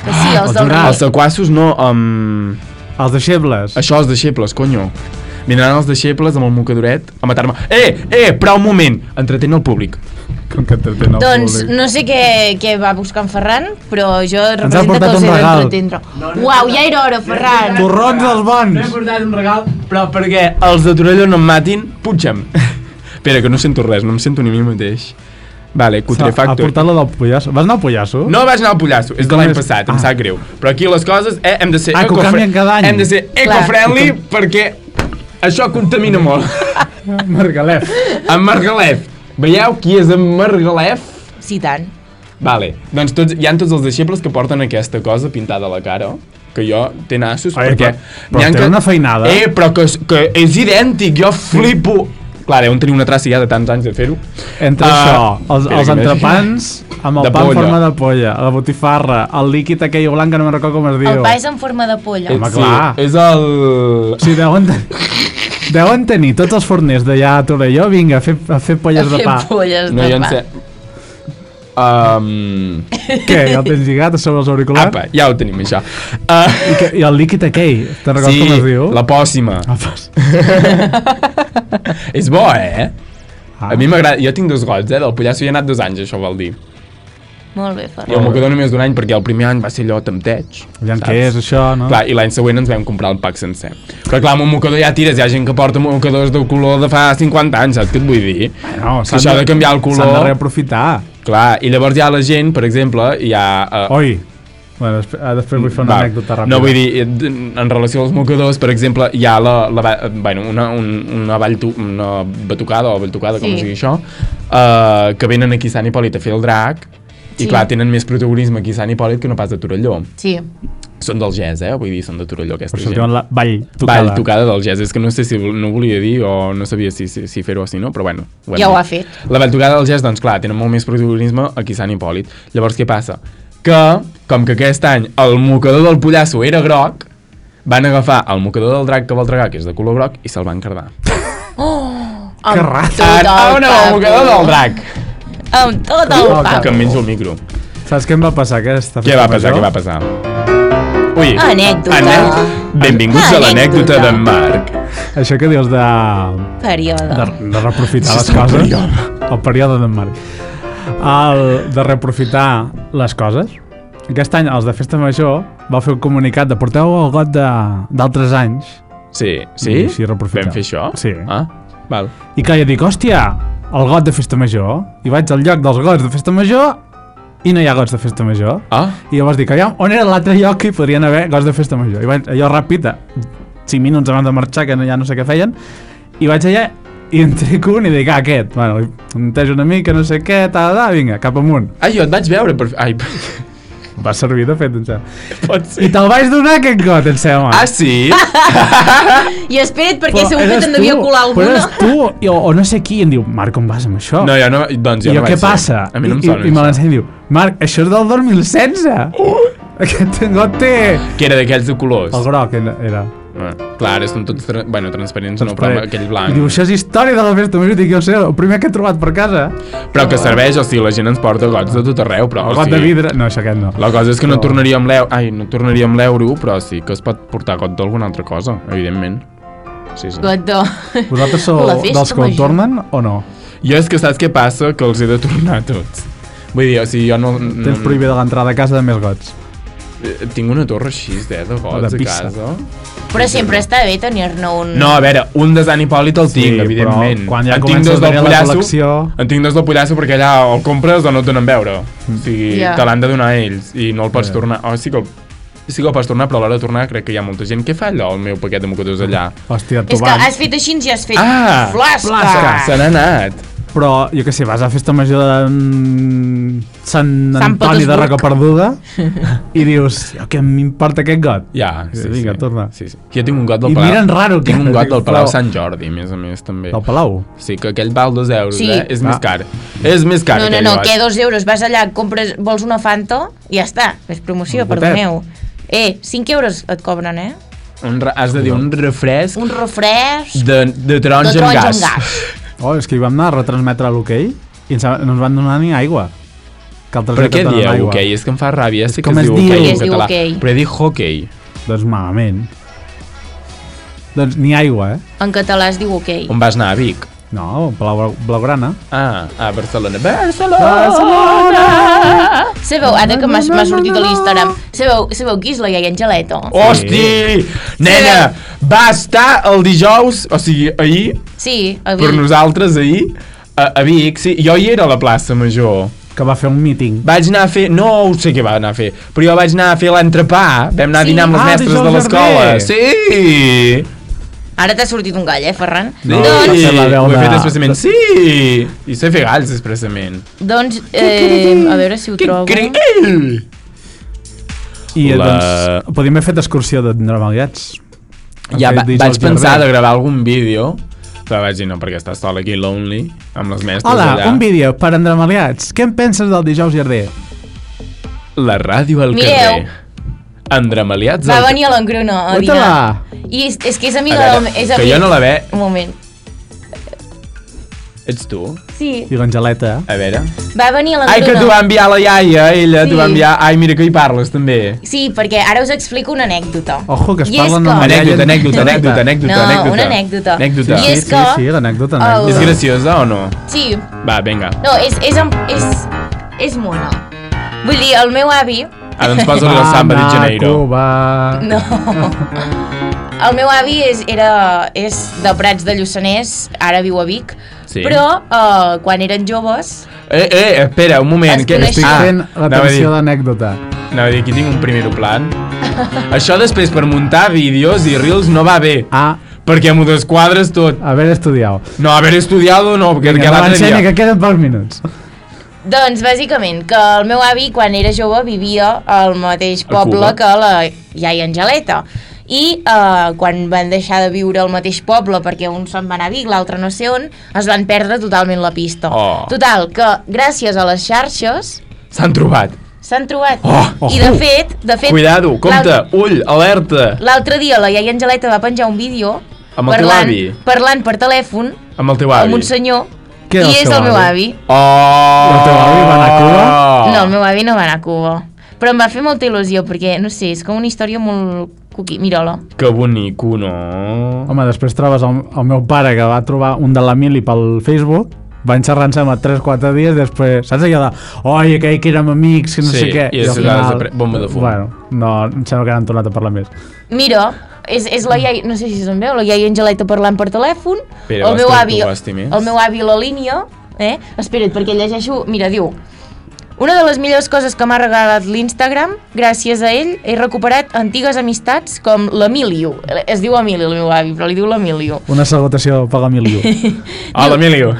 S2: Que Sí, els
S1: Ah, els
S2: del
S1: jurats.
S3: Els
S2: rei.
S3: sequaços, no, amb...
S1: Els deixebles.
S3: Això, els deixebles, conyo. Vindran els deixebles amb el mocadoret a matar-me. Eh, eh, però un moment! Entretén el públic.
S1: Com que entretén el
S2: Doncs
S1: públic.
S2: no sé què, què va buscar en Ferran, però jo represento que
S1: portat
S2: els
S1: un
S2: he
S1: regal.
S2: d'entretendre. Uau, ja era hora, Ferran.
S1: Torrons dels
S3: No he
S1: bons!
S3: portat un regal, però perquè els de Torelló no em matin, punxa'm. Espera, que no sento res, no em sento ni a mi mateix. Vale,
S1: Ha
S3: Cutrefactor.
S1: portat la del pollasso. Vas anar al pollasso?
S3: No vaig anar al Pollasso, és de
S1: Com
S3: l'any
S1: és?
S3: passat, em
S1: Ah.
S3: sap greu. Però aquí les coses eh, hem de ser
S1: Ah, que ho
S3: ecofre-
S1: canvien cada any.
S3: Hem de ser eco-friendly perquè això contamina molt.
S1: Margalef.
S3: en Margalef. Veieu qui és en Margalef?
S2: Sí, tant.
S3: Vale, doncs tots, hi han tots els deixebles que porten aquesta cosa pintada a la cara, que jo té nassos,
S1: Ai,
S3: perquè...
S1: però- però
S3: n'hi ha
S1: té una feinada.
S3: Eh, però que, és- que és idèntic, jo flipo. Clar, deuen tenir una traça ja de tants anys de fer-ho.
S1: Entre
S3: Ah,
S1: això, els,
S3: espera
S1: els
S3: que m'he-
S1: entrepans, amb el
S3: De
S1: pa en
S3: polla.
S1: forma de polla, la botifarra, el líquid aquell blanc que no me'n recordo com es diu.
S2: El pa és en forma de polla.
S1: Home,
S3: Eh, sí,
S1: clar.
S3: És el...
S1: Sí, deuen, deuen tenir tots els forners d'allà a Torelló, vinga, a fer, a fer polles de
S2: Fer
S1: pa.
S2: polles
S3: No, jo
S2: de
S3: en
S2: pa.
S3: sé... Um,
S1: Què, ja el tens lligat a sobre els auriculars?
S3: apa, ja ho tenim, això. Uh,
S1: I, que, I el líquid aquell, te'n recordes com es diu? Ah.
S3: la pòssima.
S1: Apa.
S3: És bo, eh?
S1: Ah.
S3: A mi m'agrada... Jo tinc dos gots, eh? Del Pollasso hi he anat dos anys, això vol dir.
S2: Molt bé,
S3: I el
S2: Ferran.
S3: Mocador només d'un any, perquè el primer any va ser allò tempteig.
S1: Aviam
S3: saps?
S1: Ah. què és això, no?
S3: Clar, i l'any següent ens vam comprar el pack sencer. Però clar, amb un mocador ja tires, hi ha gent que porta mocadors de color de fa 50 anys, saps què et vull dir?
S1: No,
S3: que això de canviar el color...
S1: S'han de reaprofitar.
S3: Clar, i llavors hi ha la gent, per exemple, hi ha... eh,
S1: Oi, bueno, després, ah, després vull fer una
S3: va,
S1: anècdota ràpida.
S3: no vull dir, eh, d- en relació als mocadors, per exemple, hi ha la, la, va- eh, bueno, una, un, una, vall tu, una batucada o batucada, sí. com es
S2: Sí.
S3: digui això, uh, que venen aquí a Sant Hipòlit a fer el drac, sí.
S2: Sí.
S3: i clar, tenen més protagonisme aquí a Sant Hipòlit que no pas a Torelló.
S2: Sí.
S3: Són del GES, eh? Vull dir, són de Torelló, aquesta
S1: Per això
S3: gent.
S1: es diuen la ball tocada.
S3: Ball tocada del jazz, és que no sé si no ho volia dir o no sabia si, si, si fer-ho o si no, però bueno. hem
S2: Ja ho
S3: dit.
S2: ha fet.
S3: La ball tocada del jazz, doncs clar, tenen molt més protagonisme aquí a Sant Hipòlit. Llavors, què passa? Que, com que aquest any el mocador del pollasso era groc, van agafar el mocador del drac que vol tragar, que és de color groc, i se'l van cardar.
S2: Amb
S1: raro.
S2: tot el
S3: Ah, no, el
S2: papo.
S3: mocador del drac!
S2: Amb tot el
S1: Oh,
S2: papo.
S3: Que em menjo el micro.
S1: Saps què em va passar aquesta
S3: Què va passar,
S1: major?
S3: què va passar? Ui,
S2: Anècdota.
S3: anèc- Benvinguts a l'anècdota
S2: Anècdota.
S3: d'en Marc.
S1: Això que dius de, de,
S2: Període.
S1: de reaprofitar les
S3: S'està en
S1: coses.
S3: període.
S1: El període d'en Marc. El, de reaprofitar les coses. Aquest any, els de Festa Major, va fer un comunicat de porteu el got de- d'altres anys.
S3: Sí, sí?
S1: I així reaprofitem.
S3: Vam fer això?
S1: Sí.
S3: Ah, val.
S1: I clar, jo dic, hòstia, el got de Festa Major. I vaig al lloc dels gots de Festa Major i no hi ha gots de Festa Major.
S3: Ah,
S1: I llavors dic, aviam, on era l'altre lloc que hi podrien haver gots de festa major? I vaig, allò ràpid, de 5 minuts abans de marxar, que no, ja no sé què feien, i vaig allà i en trec un i dic, ah, aquest, bueno, li puntejo una mica, no sé què, tal, tal, vinga, cap amunt.
S3: ah jo et vaig veure per... Ai,
S1: Va servir, de fet, em sembla.
S3: pot
S1: I
S3: ser.
S1: te'l vaig donar, aquest got, em sembla.
S3: Ah, sí?
S2: I espera't, perquè
S1: Però
S2: segur que
S1: eres
S2: te'n devia
S1: tu,
S2: colar
S1: Però
S2: alguna.
S1: eres tu, i, o, o no sé qui, i em diu, Marc, on vas amb això?
S3: No, jo no... Doncs jo
S1: I jo,
S3: no vaig
S1: què
S3: ser.
S1: passa?
S3: A mi no em
S1: I,
S3: sona.
S1: I, i me
S3: això. Oh!
S1: l'ensenya i diu, Marc, això és del 2016! Aquest got té...
S3: Que era d'aquells de colors.
S1: El groc era. era.
S3: Ah, clar, ara són tots... Tra... Bueno, transparents no, però
S1: Pare-
S3: amb
S1: I
S3: aquell
S1: diu,
S3: blanc.
S1: això és història de la festa major. Dic, jo sé, el primer que he trobat per casa.
S3: Però que serveix, o sigui, la gent ens porta gots de tot arreu, però...
S1: El
S3: o
S1: got de
S3: sigui,
S1: vidre. No, això aquest no.
S3: La cosa és que no tornaríem l'euro... Ai, no tornaríem l'euro, però sí que es pot portar got d'alguna altra cosa, evidentment. Sí, sí.
S2: Guató.
S1: Vosaltres sou
S2: La festa
S1: dels que ho
S2: major.
S1: tornen o no?
S3: Jo és que saps què passa? Que els he de tornar tots. Vull dir, o sigui, jo no...
S1: Tens
S3: no-
S1: prohibida l'entrada a casa de més gots.
S3: eh, Tinc una torre així, eh, de gots
S1: De
S3: a
S1: pizza.
S3: casa.
S2: Però sempre està bé tenir-ne un...
S3: No, a veure, un de Sant Hipòlit el tinc,
S1: però
S3: evidentment.
S1: quan ja
S3: en tinc
S1: comences a
S3: dos del
S1: tenir la
S3: Pollasso,
S1: col·lecció-
S3: en tinc dos del Pollasso perquè allà el compres o no et donen veure. O sigui,
S2: Ja.
S3: yeah. te l'han de donar ells i no el pots yeah. tornar. O sí que el, sí que el pots tornar, però a l'hora de tornar crec que hi ha molta gent. Què fa allò, el meu paquet de mocadors allà?
S1: Hòstia, tu
S2: És que
S1: vas.
S2: has fet així i has fet...
S3: Ah,
S2: flasca!
S1: flasca.
S3: Se n'ha anat.
S1: Però, jo que sé, vas a festa major de mm, Sant Antoni de
S2: Petersburg.
S1: Rocaperduda i dius, "Jo, què m'importa aquest got?
S3: Ja, sí,
S1: Vinga,
S3: sí.
S1: torna.
S3: Sí, sí. Jo tinc un got del
S1: I
S3: Palau.
S1: miren raro,
S3: Tinc un
S1: que-
S3: got del Palau
S1: però-
S3: Sant Jordi, a més a més, també.
S1: Del Palau.
S3: Sí, que aquell val dos euros,
S2: Sí.
S3: eh? És
S1: Ah.
S3: més car. És més car
S2: No, no,
S3: aquell
S2: no,
S3: got.
S2: que dos euros, vas allà, compres, vols una Fanta, i ja està, és promoció,
S3: Un gotet.
S2: perdoneu. Eh, 5 euros et cobren, eh?
S3: Un, re- has de dir un refresc
S2: Un refresc,
S3: de, de taronja,
S2: de taronja amb
S3: Amb gas.
S2: gas.
S1: Oh, és que hi vam anar a retransmetre l'hoquei i ens, no ens van donar ni aigua. Que altres
S3: Però
S1: ja
S3: què
S1: et donen
S3: dieu,
S1: aigua.
S3: hoquei? És que em fa ràbia, sé que
S1: Com
S3: es
S1: es
S3: diu
S1: diu?
S3: hoquei
S1: Sí,
S3: en
S2: es diu
S3: català.
S2: hoquei.
S3: Però he dit hoquei.
S1: Doncs malament. Doncs ni aigua, eh?
S2: en català es diu ok.
S3: On vas anar, a Vic?
S1: No, Blau, Blaugrana.
S3: Ah, a Barcelona. Barcelona!
S2: Sabeu, ara que m'ha m'ha sortit a l'Instagram, sabeu, sabeu qui és la iaia Angeleta?
S3: Oh, Hosti! Nena, va estar el dijous, o sigui, ahir,
S2: Sí, a
S3: per
S2: Vic.
S3: nosaltres ahir, a, a Vic, sí, jo hi era a la plaça Major.
S1: Que va fer un míting.
S3: Vaig anar a fer... No ho sé què va anar a fer, però jo vaig anar a fer l'entrepà. Vam anar a
S2: Sí.
S3: dinar amb les
S1: Ah,
S3: mestres
S1: dijous
S3: de l'escola.
S1: darrer.
S3: Sí!
S2: Ara t'ha sortit un gall, eh, Ferran?
S1: No,
S2: doncs,
S1: no.
S3: sí.
S1: fer la veu
S3: ho he fet
S1: de-
S3: expressament. Sí! I sé fer galls expressament.
S2: doncs eh, a veure si ho trobo.
S3: Criquel!
S1: I la...
S3: La-
S1: doncs podíem haver fet excursió de dramalgats.
S3: Ja va, vaig pensar de gravar algun vídeo, però vaig dir no, perquè estàs sol aquí, lonely, amb les mestres
S1: Hola,
S3: allà.
S1: un vídeo per endramaliats. Què en penses del dijous jardí?
S3: La ràdio al
S2: Mireu.
S3: carrer. Andramaliats
S2: Va venir a l'Engruna a dinar.
S1: Cuéntala!
S2: I és, és que és
S3: A
S2: amiga...
S3: veure,
S2: del- és
S3: que
S2: amiga.
S3: jo no la ve...
S2: Un moment.
S3: Ets tu?
S2: Sí,
S1: Diu Angeleta.
S3: A veure...
S2: va venir a l'Engruna.
S3: Ai, que t'ho va enviar la iaia, ella t'ho
S2: Sí.
S3: va enviar... Ai, mira que hi parles, també.
S2: Sí, perquè ara us explico una anècdota.
S3: Oh.
S1: Ojo, que es
S2: I
S1: parlen
S2: és que...
S1: amb la iaia.
S3: Anècdota, anècdota, anècdota, anècdota,
S2: No,
S3: anècdota.
S2: una anècdota.
S3: Anècdota.
S2: I és
S1: sí,
S2: que...
S1: sí, l'anècdota.
S2: Au.
S3: És
S1: anècdota.
S3: graciosa o no?
S2: Sí,
S3: Va, vinga.
S2: no, és, és, amb- és, és mona. Vull dir, el meu avi...
S3: Ah, doncs posa-li el samba de Janeiro.
S1: Va, naco,
S2: No. El meu avi és, era, és de Prats de Lluçanès, ara viu a Vic,
S3: Sí.
S2: però uh, quan eren joves...
S3: Eh, eh, espera, un moment.
S2: Es
S3: Que...
S2: coneix-
S1: Estic
S2: Ah,
S1: fent
S3: anava a dir-
S1: l'atenció d'anècdota.
S3: Anava a dir, aquí tinc un primer plan. Això després per muntar vídeos i reels no va bé,
S1: Ah,
S3: perquè m'ho desquadres tot.
S1: haver estudiat.
S3: No, haver estudiat o no, perquè
S1: Vinga,
S3: Vinga,
S1: va,
S3: l'altre
S1: Xenia,
S3: dia...
S1: que queden pocs minuts.
S2: Doncs, bàsicament, que el meu avi, quan era jove, vivia al mateix
S3: A Cuba.
S2: poble que la iaia Angeleta. I eh, quan van deixar de viure al mateix poble, perquè un se'n va anar a Vic, l'altre no sé on, es van perdre totalment la pista.
S3: Oh.
S2: Total, que gràcies a les xarxes
S3: S'han trobat.
S2: s'han trobat.
S3: Oh, oh.
S2: I de fet... De fet
S3: Cuidado, compte,
S2: l'altre-
S3: ull, alerta,
S2: L'altre dia la iaia Angeleta va penjar un vídeo
S3: Amb el teu
S2: parlant,
S3: avi.
S2: parlant per telèfon
S3: amb el teu avi.
S2: amb un senyor
S1: Què era
S2: i
S1: el
S2: és
S1: seu
S2: el meu
S1: avi?
S2: avi.
S3: Oh!
S1: El teu avi va anar a
S3: Ah.
S1: Cuba?
S2: No, el meu avi no va anar a Cuba. Però em va fer molta il·lusió, perquè, no sé, és com una història molt cuqui. Mira-la.
S3: Que oh. bonico, no?
S1: Home, després trobes el, el meu pare que va trobar un de la mili pel Facebook van xerrant-se amb 3-4 dies després, saps allò de oi, aquell que érem amics, que no
S3: Sí,
S1: sé què
S3: i és
S1: al
S3: la desapre- bomba de fum.
S1: bueno, no, em sembla que han tornat a parlar més
S2: Mira, és, és la iaia, no sé si se'n veu, la iaia Angeleta parlant per telèfon,
S3: Espera,
S2: el, meu
S3: vas tu,
S2: avi,
S3: tu vas, Timés.
S2: el meu avi a la línia, eh? Espera't, perquè llegeixo... Mira, diu... Una de les millors coses que m'ha regalat l'Instagram, gràcies a ell, he recuperat antigues amistats com l'Emilio. Es diu Emilio, el meu avi, però li diu l'Emilio.
S1: una salutació per l'Emilio
S3: Hola, Ah, Emilio.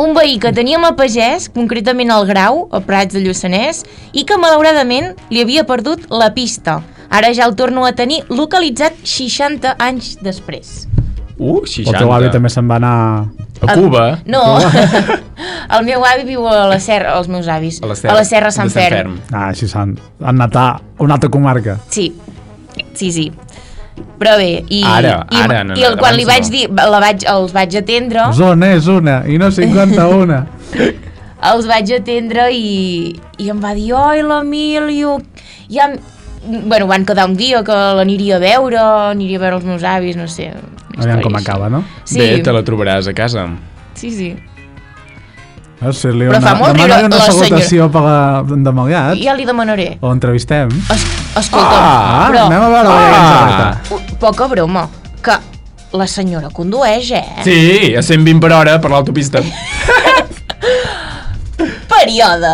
S2: un veí que teníem a Pagès, concretament al Grau, a Prats de Lluçanès, i que malauradament li havia perdut la pista. Ara ja el torno a tenir localitzat 60 anys després.
S3: Uh,
S1: el
S3: 60.
S1: teu avi també se'n va anar
S3: A Cuba?
S2: No, el meu avi viu a la Serra, els meus avis,
S3: A la Serra,
S2: a la Serra Sant,
S3: de Sant Ferm.
S1: ah, així s'han han anat a una altra comarca
S2: Sí, sí, sí. Però bé, i,
S3: Ara,
S2: i,
S3: ara, no, no,
S2: i el, quan li
S3: abans
S2: vaig
S3: no.
S2: dir, la vaig, els vaig atendre,
S1: zona és una i no 51
S2: els vaig atendre i, i em va dir oi l'Emilio ja em... bueno, van quedar un dia que l'aniria a veure aniria a veure els meus avis, no sé una
S1: aviam
S2: història
S1: com
S2: així.
S1: acaba, no?
S2: sí,
S3: Bé, te la trobaràs a casa.
S2: sí, sí
S1: Veus, Ser-li
S2: Però
S1: una,
S2: fa molt
S1: demana-li
S2: riure
S1: una
S2: la
S1: salutació per la- de Malgrat
S2: Ja li demanaré.
S1: o l'entrevistem.
S2: Es, escolta,
S1: Ah,
S2: però
S1: anem a veure la
S3: Ah.
S1: ah.
S2: u- poca broma, que la senyora condueix, eh?
S3: Sí, a 120 per hora per l'autopista.
S2: Període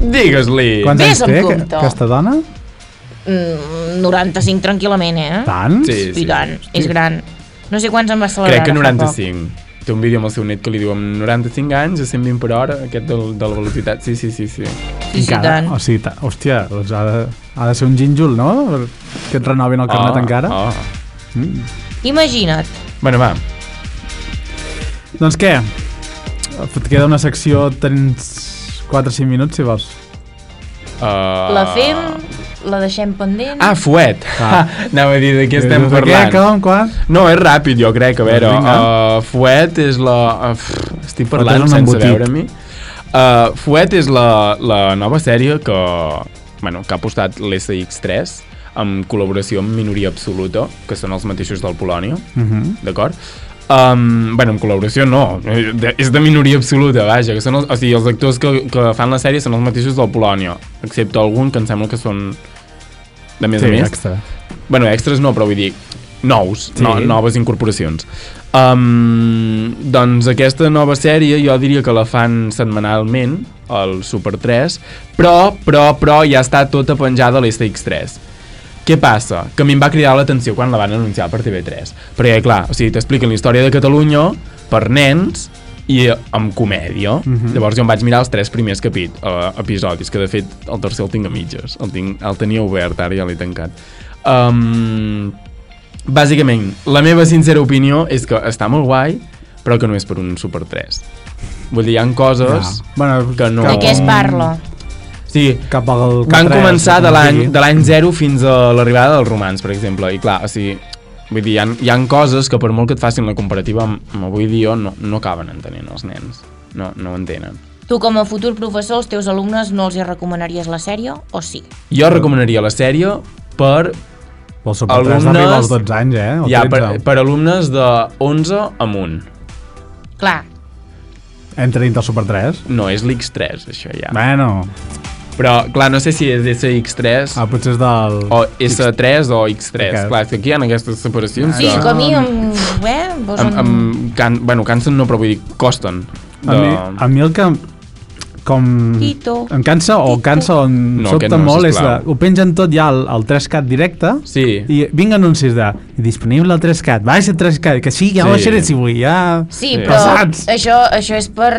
S3: Digues-li.
S1: Quants
S2: Vés
S1: anys
S2: amb
S1: té que-
S2: compte.
S1: aquesta dona?
S2: Mm, 95 tranquil·lament, eh?
S1: Tant?
S3: Sí.
S2: I tant, és gran. No sé quants en va celebrar.
S3: Crec que
S2: ara fa poc.
S3: 95. Té un vídeo amb el seu net que li diu amb 95 anys a 120 per hora, aquest del, de la velocitat. Sí, sí, sí, sí.
S2: Sí, sí,
S1: Encara?
S2: tant.
S1: O sigui, ta, hòstia, doncs ha de, ha de ser un gínjol, no? Que et renovin el carnet encara.
S3: Oh.
S2: Imagina't.
S3: Bueno, va.
S1: Doncs què? Et queda una secció, tens 4-5 minuts, si vols.
S3: Uh...
S2: La fem, la deixem pendent...
S3: Ah, fuet. Ah. Anava a dir de què estem
S1: Dius, de
S3: parlant.
S1: Què, com, quan?
S3: No, és ràpid, jo crec, a veure.
S1: Doncs vinga.
S3: Uh, fuet és la... Uh, pff, estic
S1: Fuet
S3: parlant
S1: és un
S3: sense
S1: embotit.
S3: veure-m'hi. Uh, fuet és la, la nova sèrie que, bueno, que ha postat l'SX3 en col·laboració amb Minoria Absoluta, que són els mateixos del Polònia,
S1: Mhm.
S3: d'acord? Um, bueno, en col·laboració no, eh, de, és de minoria absoluta, vaja, que són els, o sigui, els actors que, que fan la sèrie són els mateixos del Polònia, excepte algun que em sembla que són de més a més.
S1: extra.
S3: Bueno, extras no, però vull dir nous, sí. no, noves incorporacions. Um, doncs aquesta nova sèrie jo diria que la fan setmanalment, el Super 3, però, però, però ja està tota penjada a l'SX3. Què passa? Que a mi em va cridar l'atenció quan la van anunciar per TV3. Perquè, clar, o sigui, t'expliquen la història de Catalunya per nens i amb comèdia. Llavors jo em vaig mirar els tres primers capit, uh, episodis, que de fet el tercer el tinc a mitges. El, tinc, el tenia obert, ara ja l'he tancat. Um, bàsicament, la meva sincera opinió és que està molt guai, però que no és per un Super 3. Vull dir, hi ha coses... Ja.
S1: Bueno,
S3: que no-
S2: De què es parla?
S3: Sí,
S1: Cap al
S3: van
S1: Catrès,
S3: començar de
S1: no
S3: l'any
S1: sigui.
S3: de l'any 0 fins a l'arribada dels romans, per exemple, i clar, o sigui, vull dir, hi ha, hi ha coses que per molt que et facin la comparativa amb, amb avui dia no, no acaben entenent els nens, no, no ho entenen.
S2: Tu, com a futur professor, als teus alumnes no els hi recomanaries la sèrie, o sí?
S3: Jo recomanaria la sèrie per,
S1: El Super 3
S3: Alumnes-
S1: arriba als 12 anys, eh? O
S3: ja,
S1: 13.
S3: per, per alumnes de 11 amunt,
S2: Clar,
S1: Entra dintre el Super 3.
S3: no és l'X3 això ja,
S1: Bueno,
S3: però clar, no sé si és SX3
S1: ah, potser és del...
S3: o S3 o X3,
S1: Aquest.
S3: clar, és que aquí hi ha aquestes separacions
S2: sí,
S3: que-
S2: com a mi, em- eh? Vols
S3: Ah, Amb,
S2: un...
S3: amb can, bueno, cansen no, però vull dir, costen.
S1: A, mi,
S3: Doncs.
S1: a mi el que com
S2: Tito.
S1: em cansa o
S2: Tito.
S1: cansa o em
S3: No,
S1: sobta
S3: aquest no,
S1: molt és
S3: sisplau.
S1: la, ho pengen tot ja al, al 3CAT directe
S3: Sí.
S1: i vinc anuncis de disponible al 3CAT, baixa el 3CAT que sí, ja
S3: Sí.
S1: sí. baixaré si vull ja...
S2: Sí,
S3: Sí.
S2: però
S1: Pesats.
S2: això, això és per...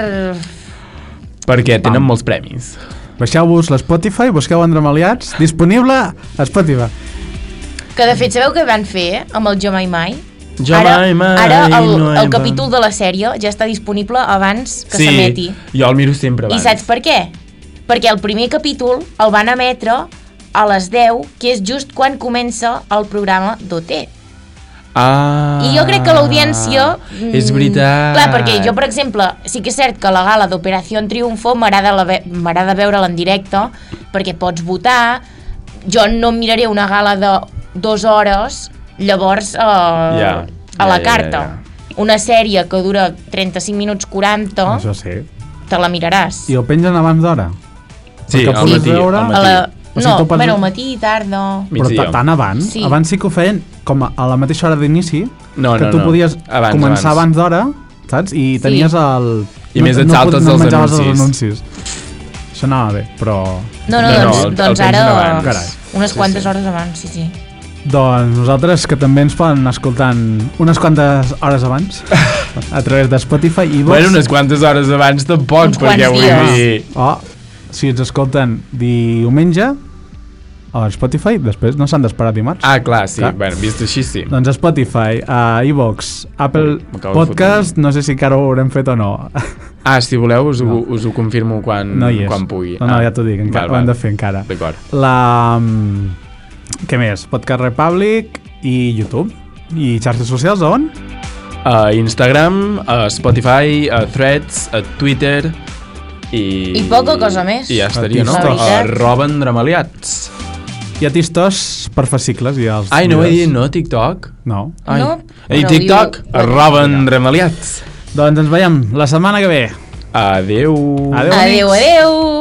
S3: Perquè tenen molts premis.
S1: baixeu-vos l'Spotify, busqueu Andremaliats disponible a Spotify
S2: Que, de fet, sabeu què van fer, eh? Amb el Jo Mai Mai?
S3: Jo
S2: ara,
S3: mai, mai,
S2: ara el,
S3: no he-
S2: el capítol de la sèrie ja està disponible abans que s'emeti.
S3: jo el miro sempre
S2: I
S3: abans.
S2: saps per què? Perquè el primer capítol el van emetre a les 10, que és just quan comença el programa d'OT.
S3: Ah,
S2: I jo crec que l'audiència... mm,
S3: És veritat.
S2: Clar, perquè jo, per exemple, sí que és cert que la gala d'Operació Triunfo m'agrada la ve- m'agrada veure'la en directe, perquè pots votar, jo no em miraré una gala de dues hores, llavors eh,
S3: Ja,
S2: a la
S3: ja, ja,
S2: carta.
S3: ja.
S2: Una sèrie que dura 35 minuts 40,
S1: això sí
S2: te la miraràs.
S1: i ho pengen abans d'hora
S3: Sí,
S1: que
S3: al
S1: puguis
S3: matí,
S1: veure-
S3: al
S2: A
S3: matí.
S2: la...
S1: O sigui,
S2: no,
S1: tu pots-
S2: bueno, al matí, tarda...
S1: però
S3: Migdia.
S1: ta- tant abans,
S2: Sí.
S1: sí. abans sí que ho feien com a, a la mateixa hora d'inici
S3: No,
S1: que
S3: no,
S1: tu
S3: no.
S1: podies
S3: Abans,
S1: començar
S3: abans.
S1: abans, d'hora saps? i tenies el...
S3: I més et saltes
S1: no
S3: els
S1: menjaves
S3: anuncis.
S1: els anuncis això anava bé, però
S3: No,
S2: No, no,
S3: no,
S2: doncs,
S3: el- el
S2: doncs
S3: pengen
S2: ara
S3: abans.
S1: Carai.
S2: unes
S3: Sí,
S2: quantes
S3: sí.
S2: hores abans, sí, sí.
S1: doncs nosaltres que també ens poden escoltar en unes quantes hores abans a través de Spotify i Vox
S3: Bueno, unes quantes hores abans tampoc,
S2: Uns
S3: perquè
S2: quants
S3: vull
S2: dies.
S3: dir...
S1: o si ens escolten diumenge a Spotify, després no s'han d'esperar dimarts
S3: Ah, clar, sí.
S1: Clar.
S3: Bueno, vist així, sí.
S1: Doncs Spotify, a iVox, Apple
S3: m'acabo de
S1: Podcast, no sé si encara ho haurem fet o no.
S3: Ah, si voleu, us, ho, us ho confirmo quan,
S1: No hi és.
S3: Mm, quan pugui.
S1: No, no,
S3: ah.
S1: ja t'ho dic, encara,
S3: Val,
S1: ho hem
S3: val.
S1: de fer encara.
S3: D'acord.
S1: La... mm, Què més? Podcast Republic i YouTube. I xarxes socials, a on?
S3: A Instagram, a Spotify, a Threads, a Twitter... I,
S2: I poca cosa més.
S3: I ja estaria, no?
S1: La
S2: veritat.
S3: Arroba endramaliats.
S1: I a Tistos per fascicles i els...
S3: Ai, no ho he dit,
S1: vídeos.
S3: no, TikTok?
S1: No.
S3: Ai.
S2: No,
S3: I
S2: però
S3: TikTok,
S2: jo-
S3: arroba endramaliats.
S1: Doncs ens veiem la setmana que ve.
S3: Adeu.
S1: Adeu.
S2: Adeu, adeu.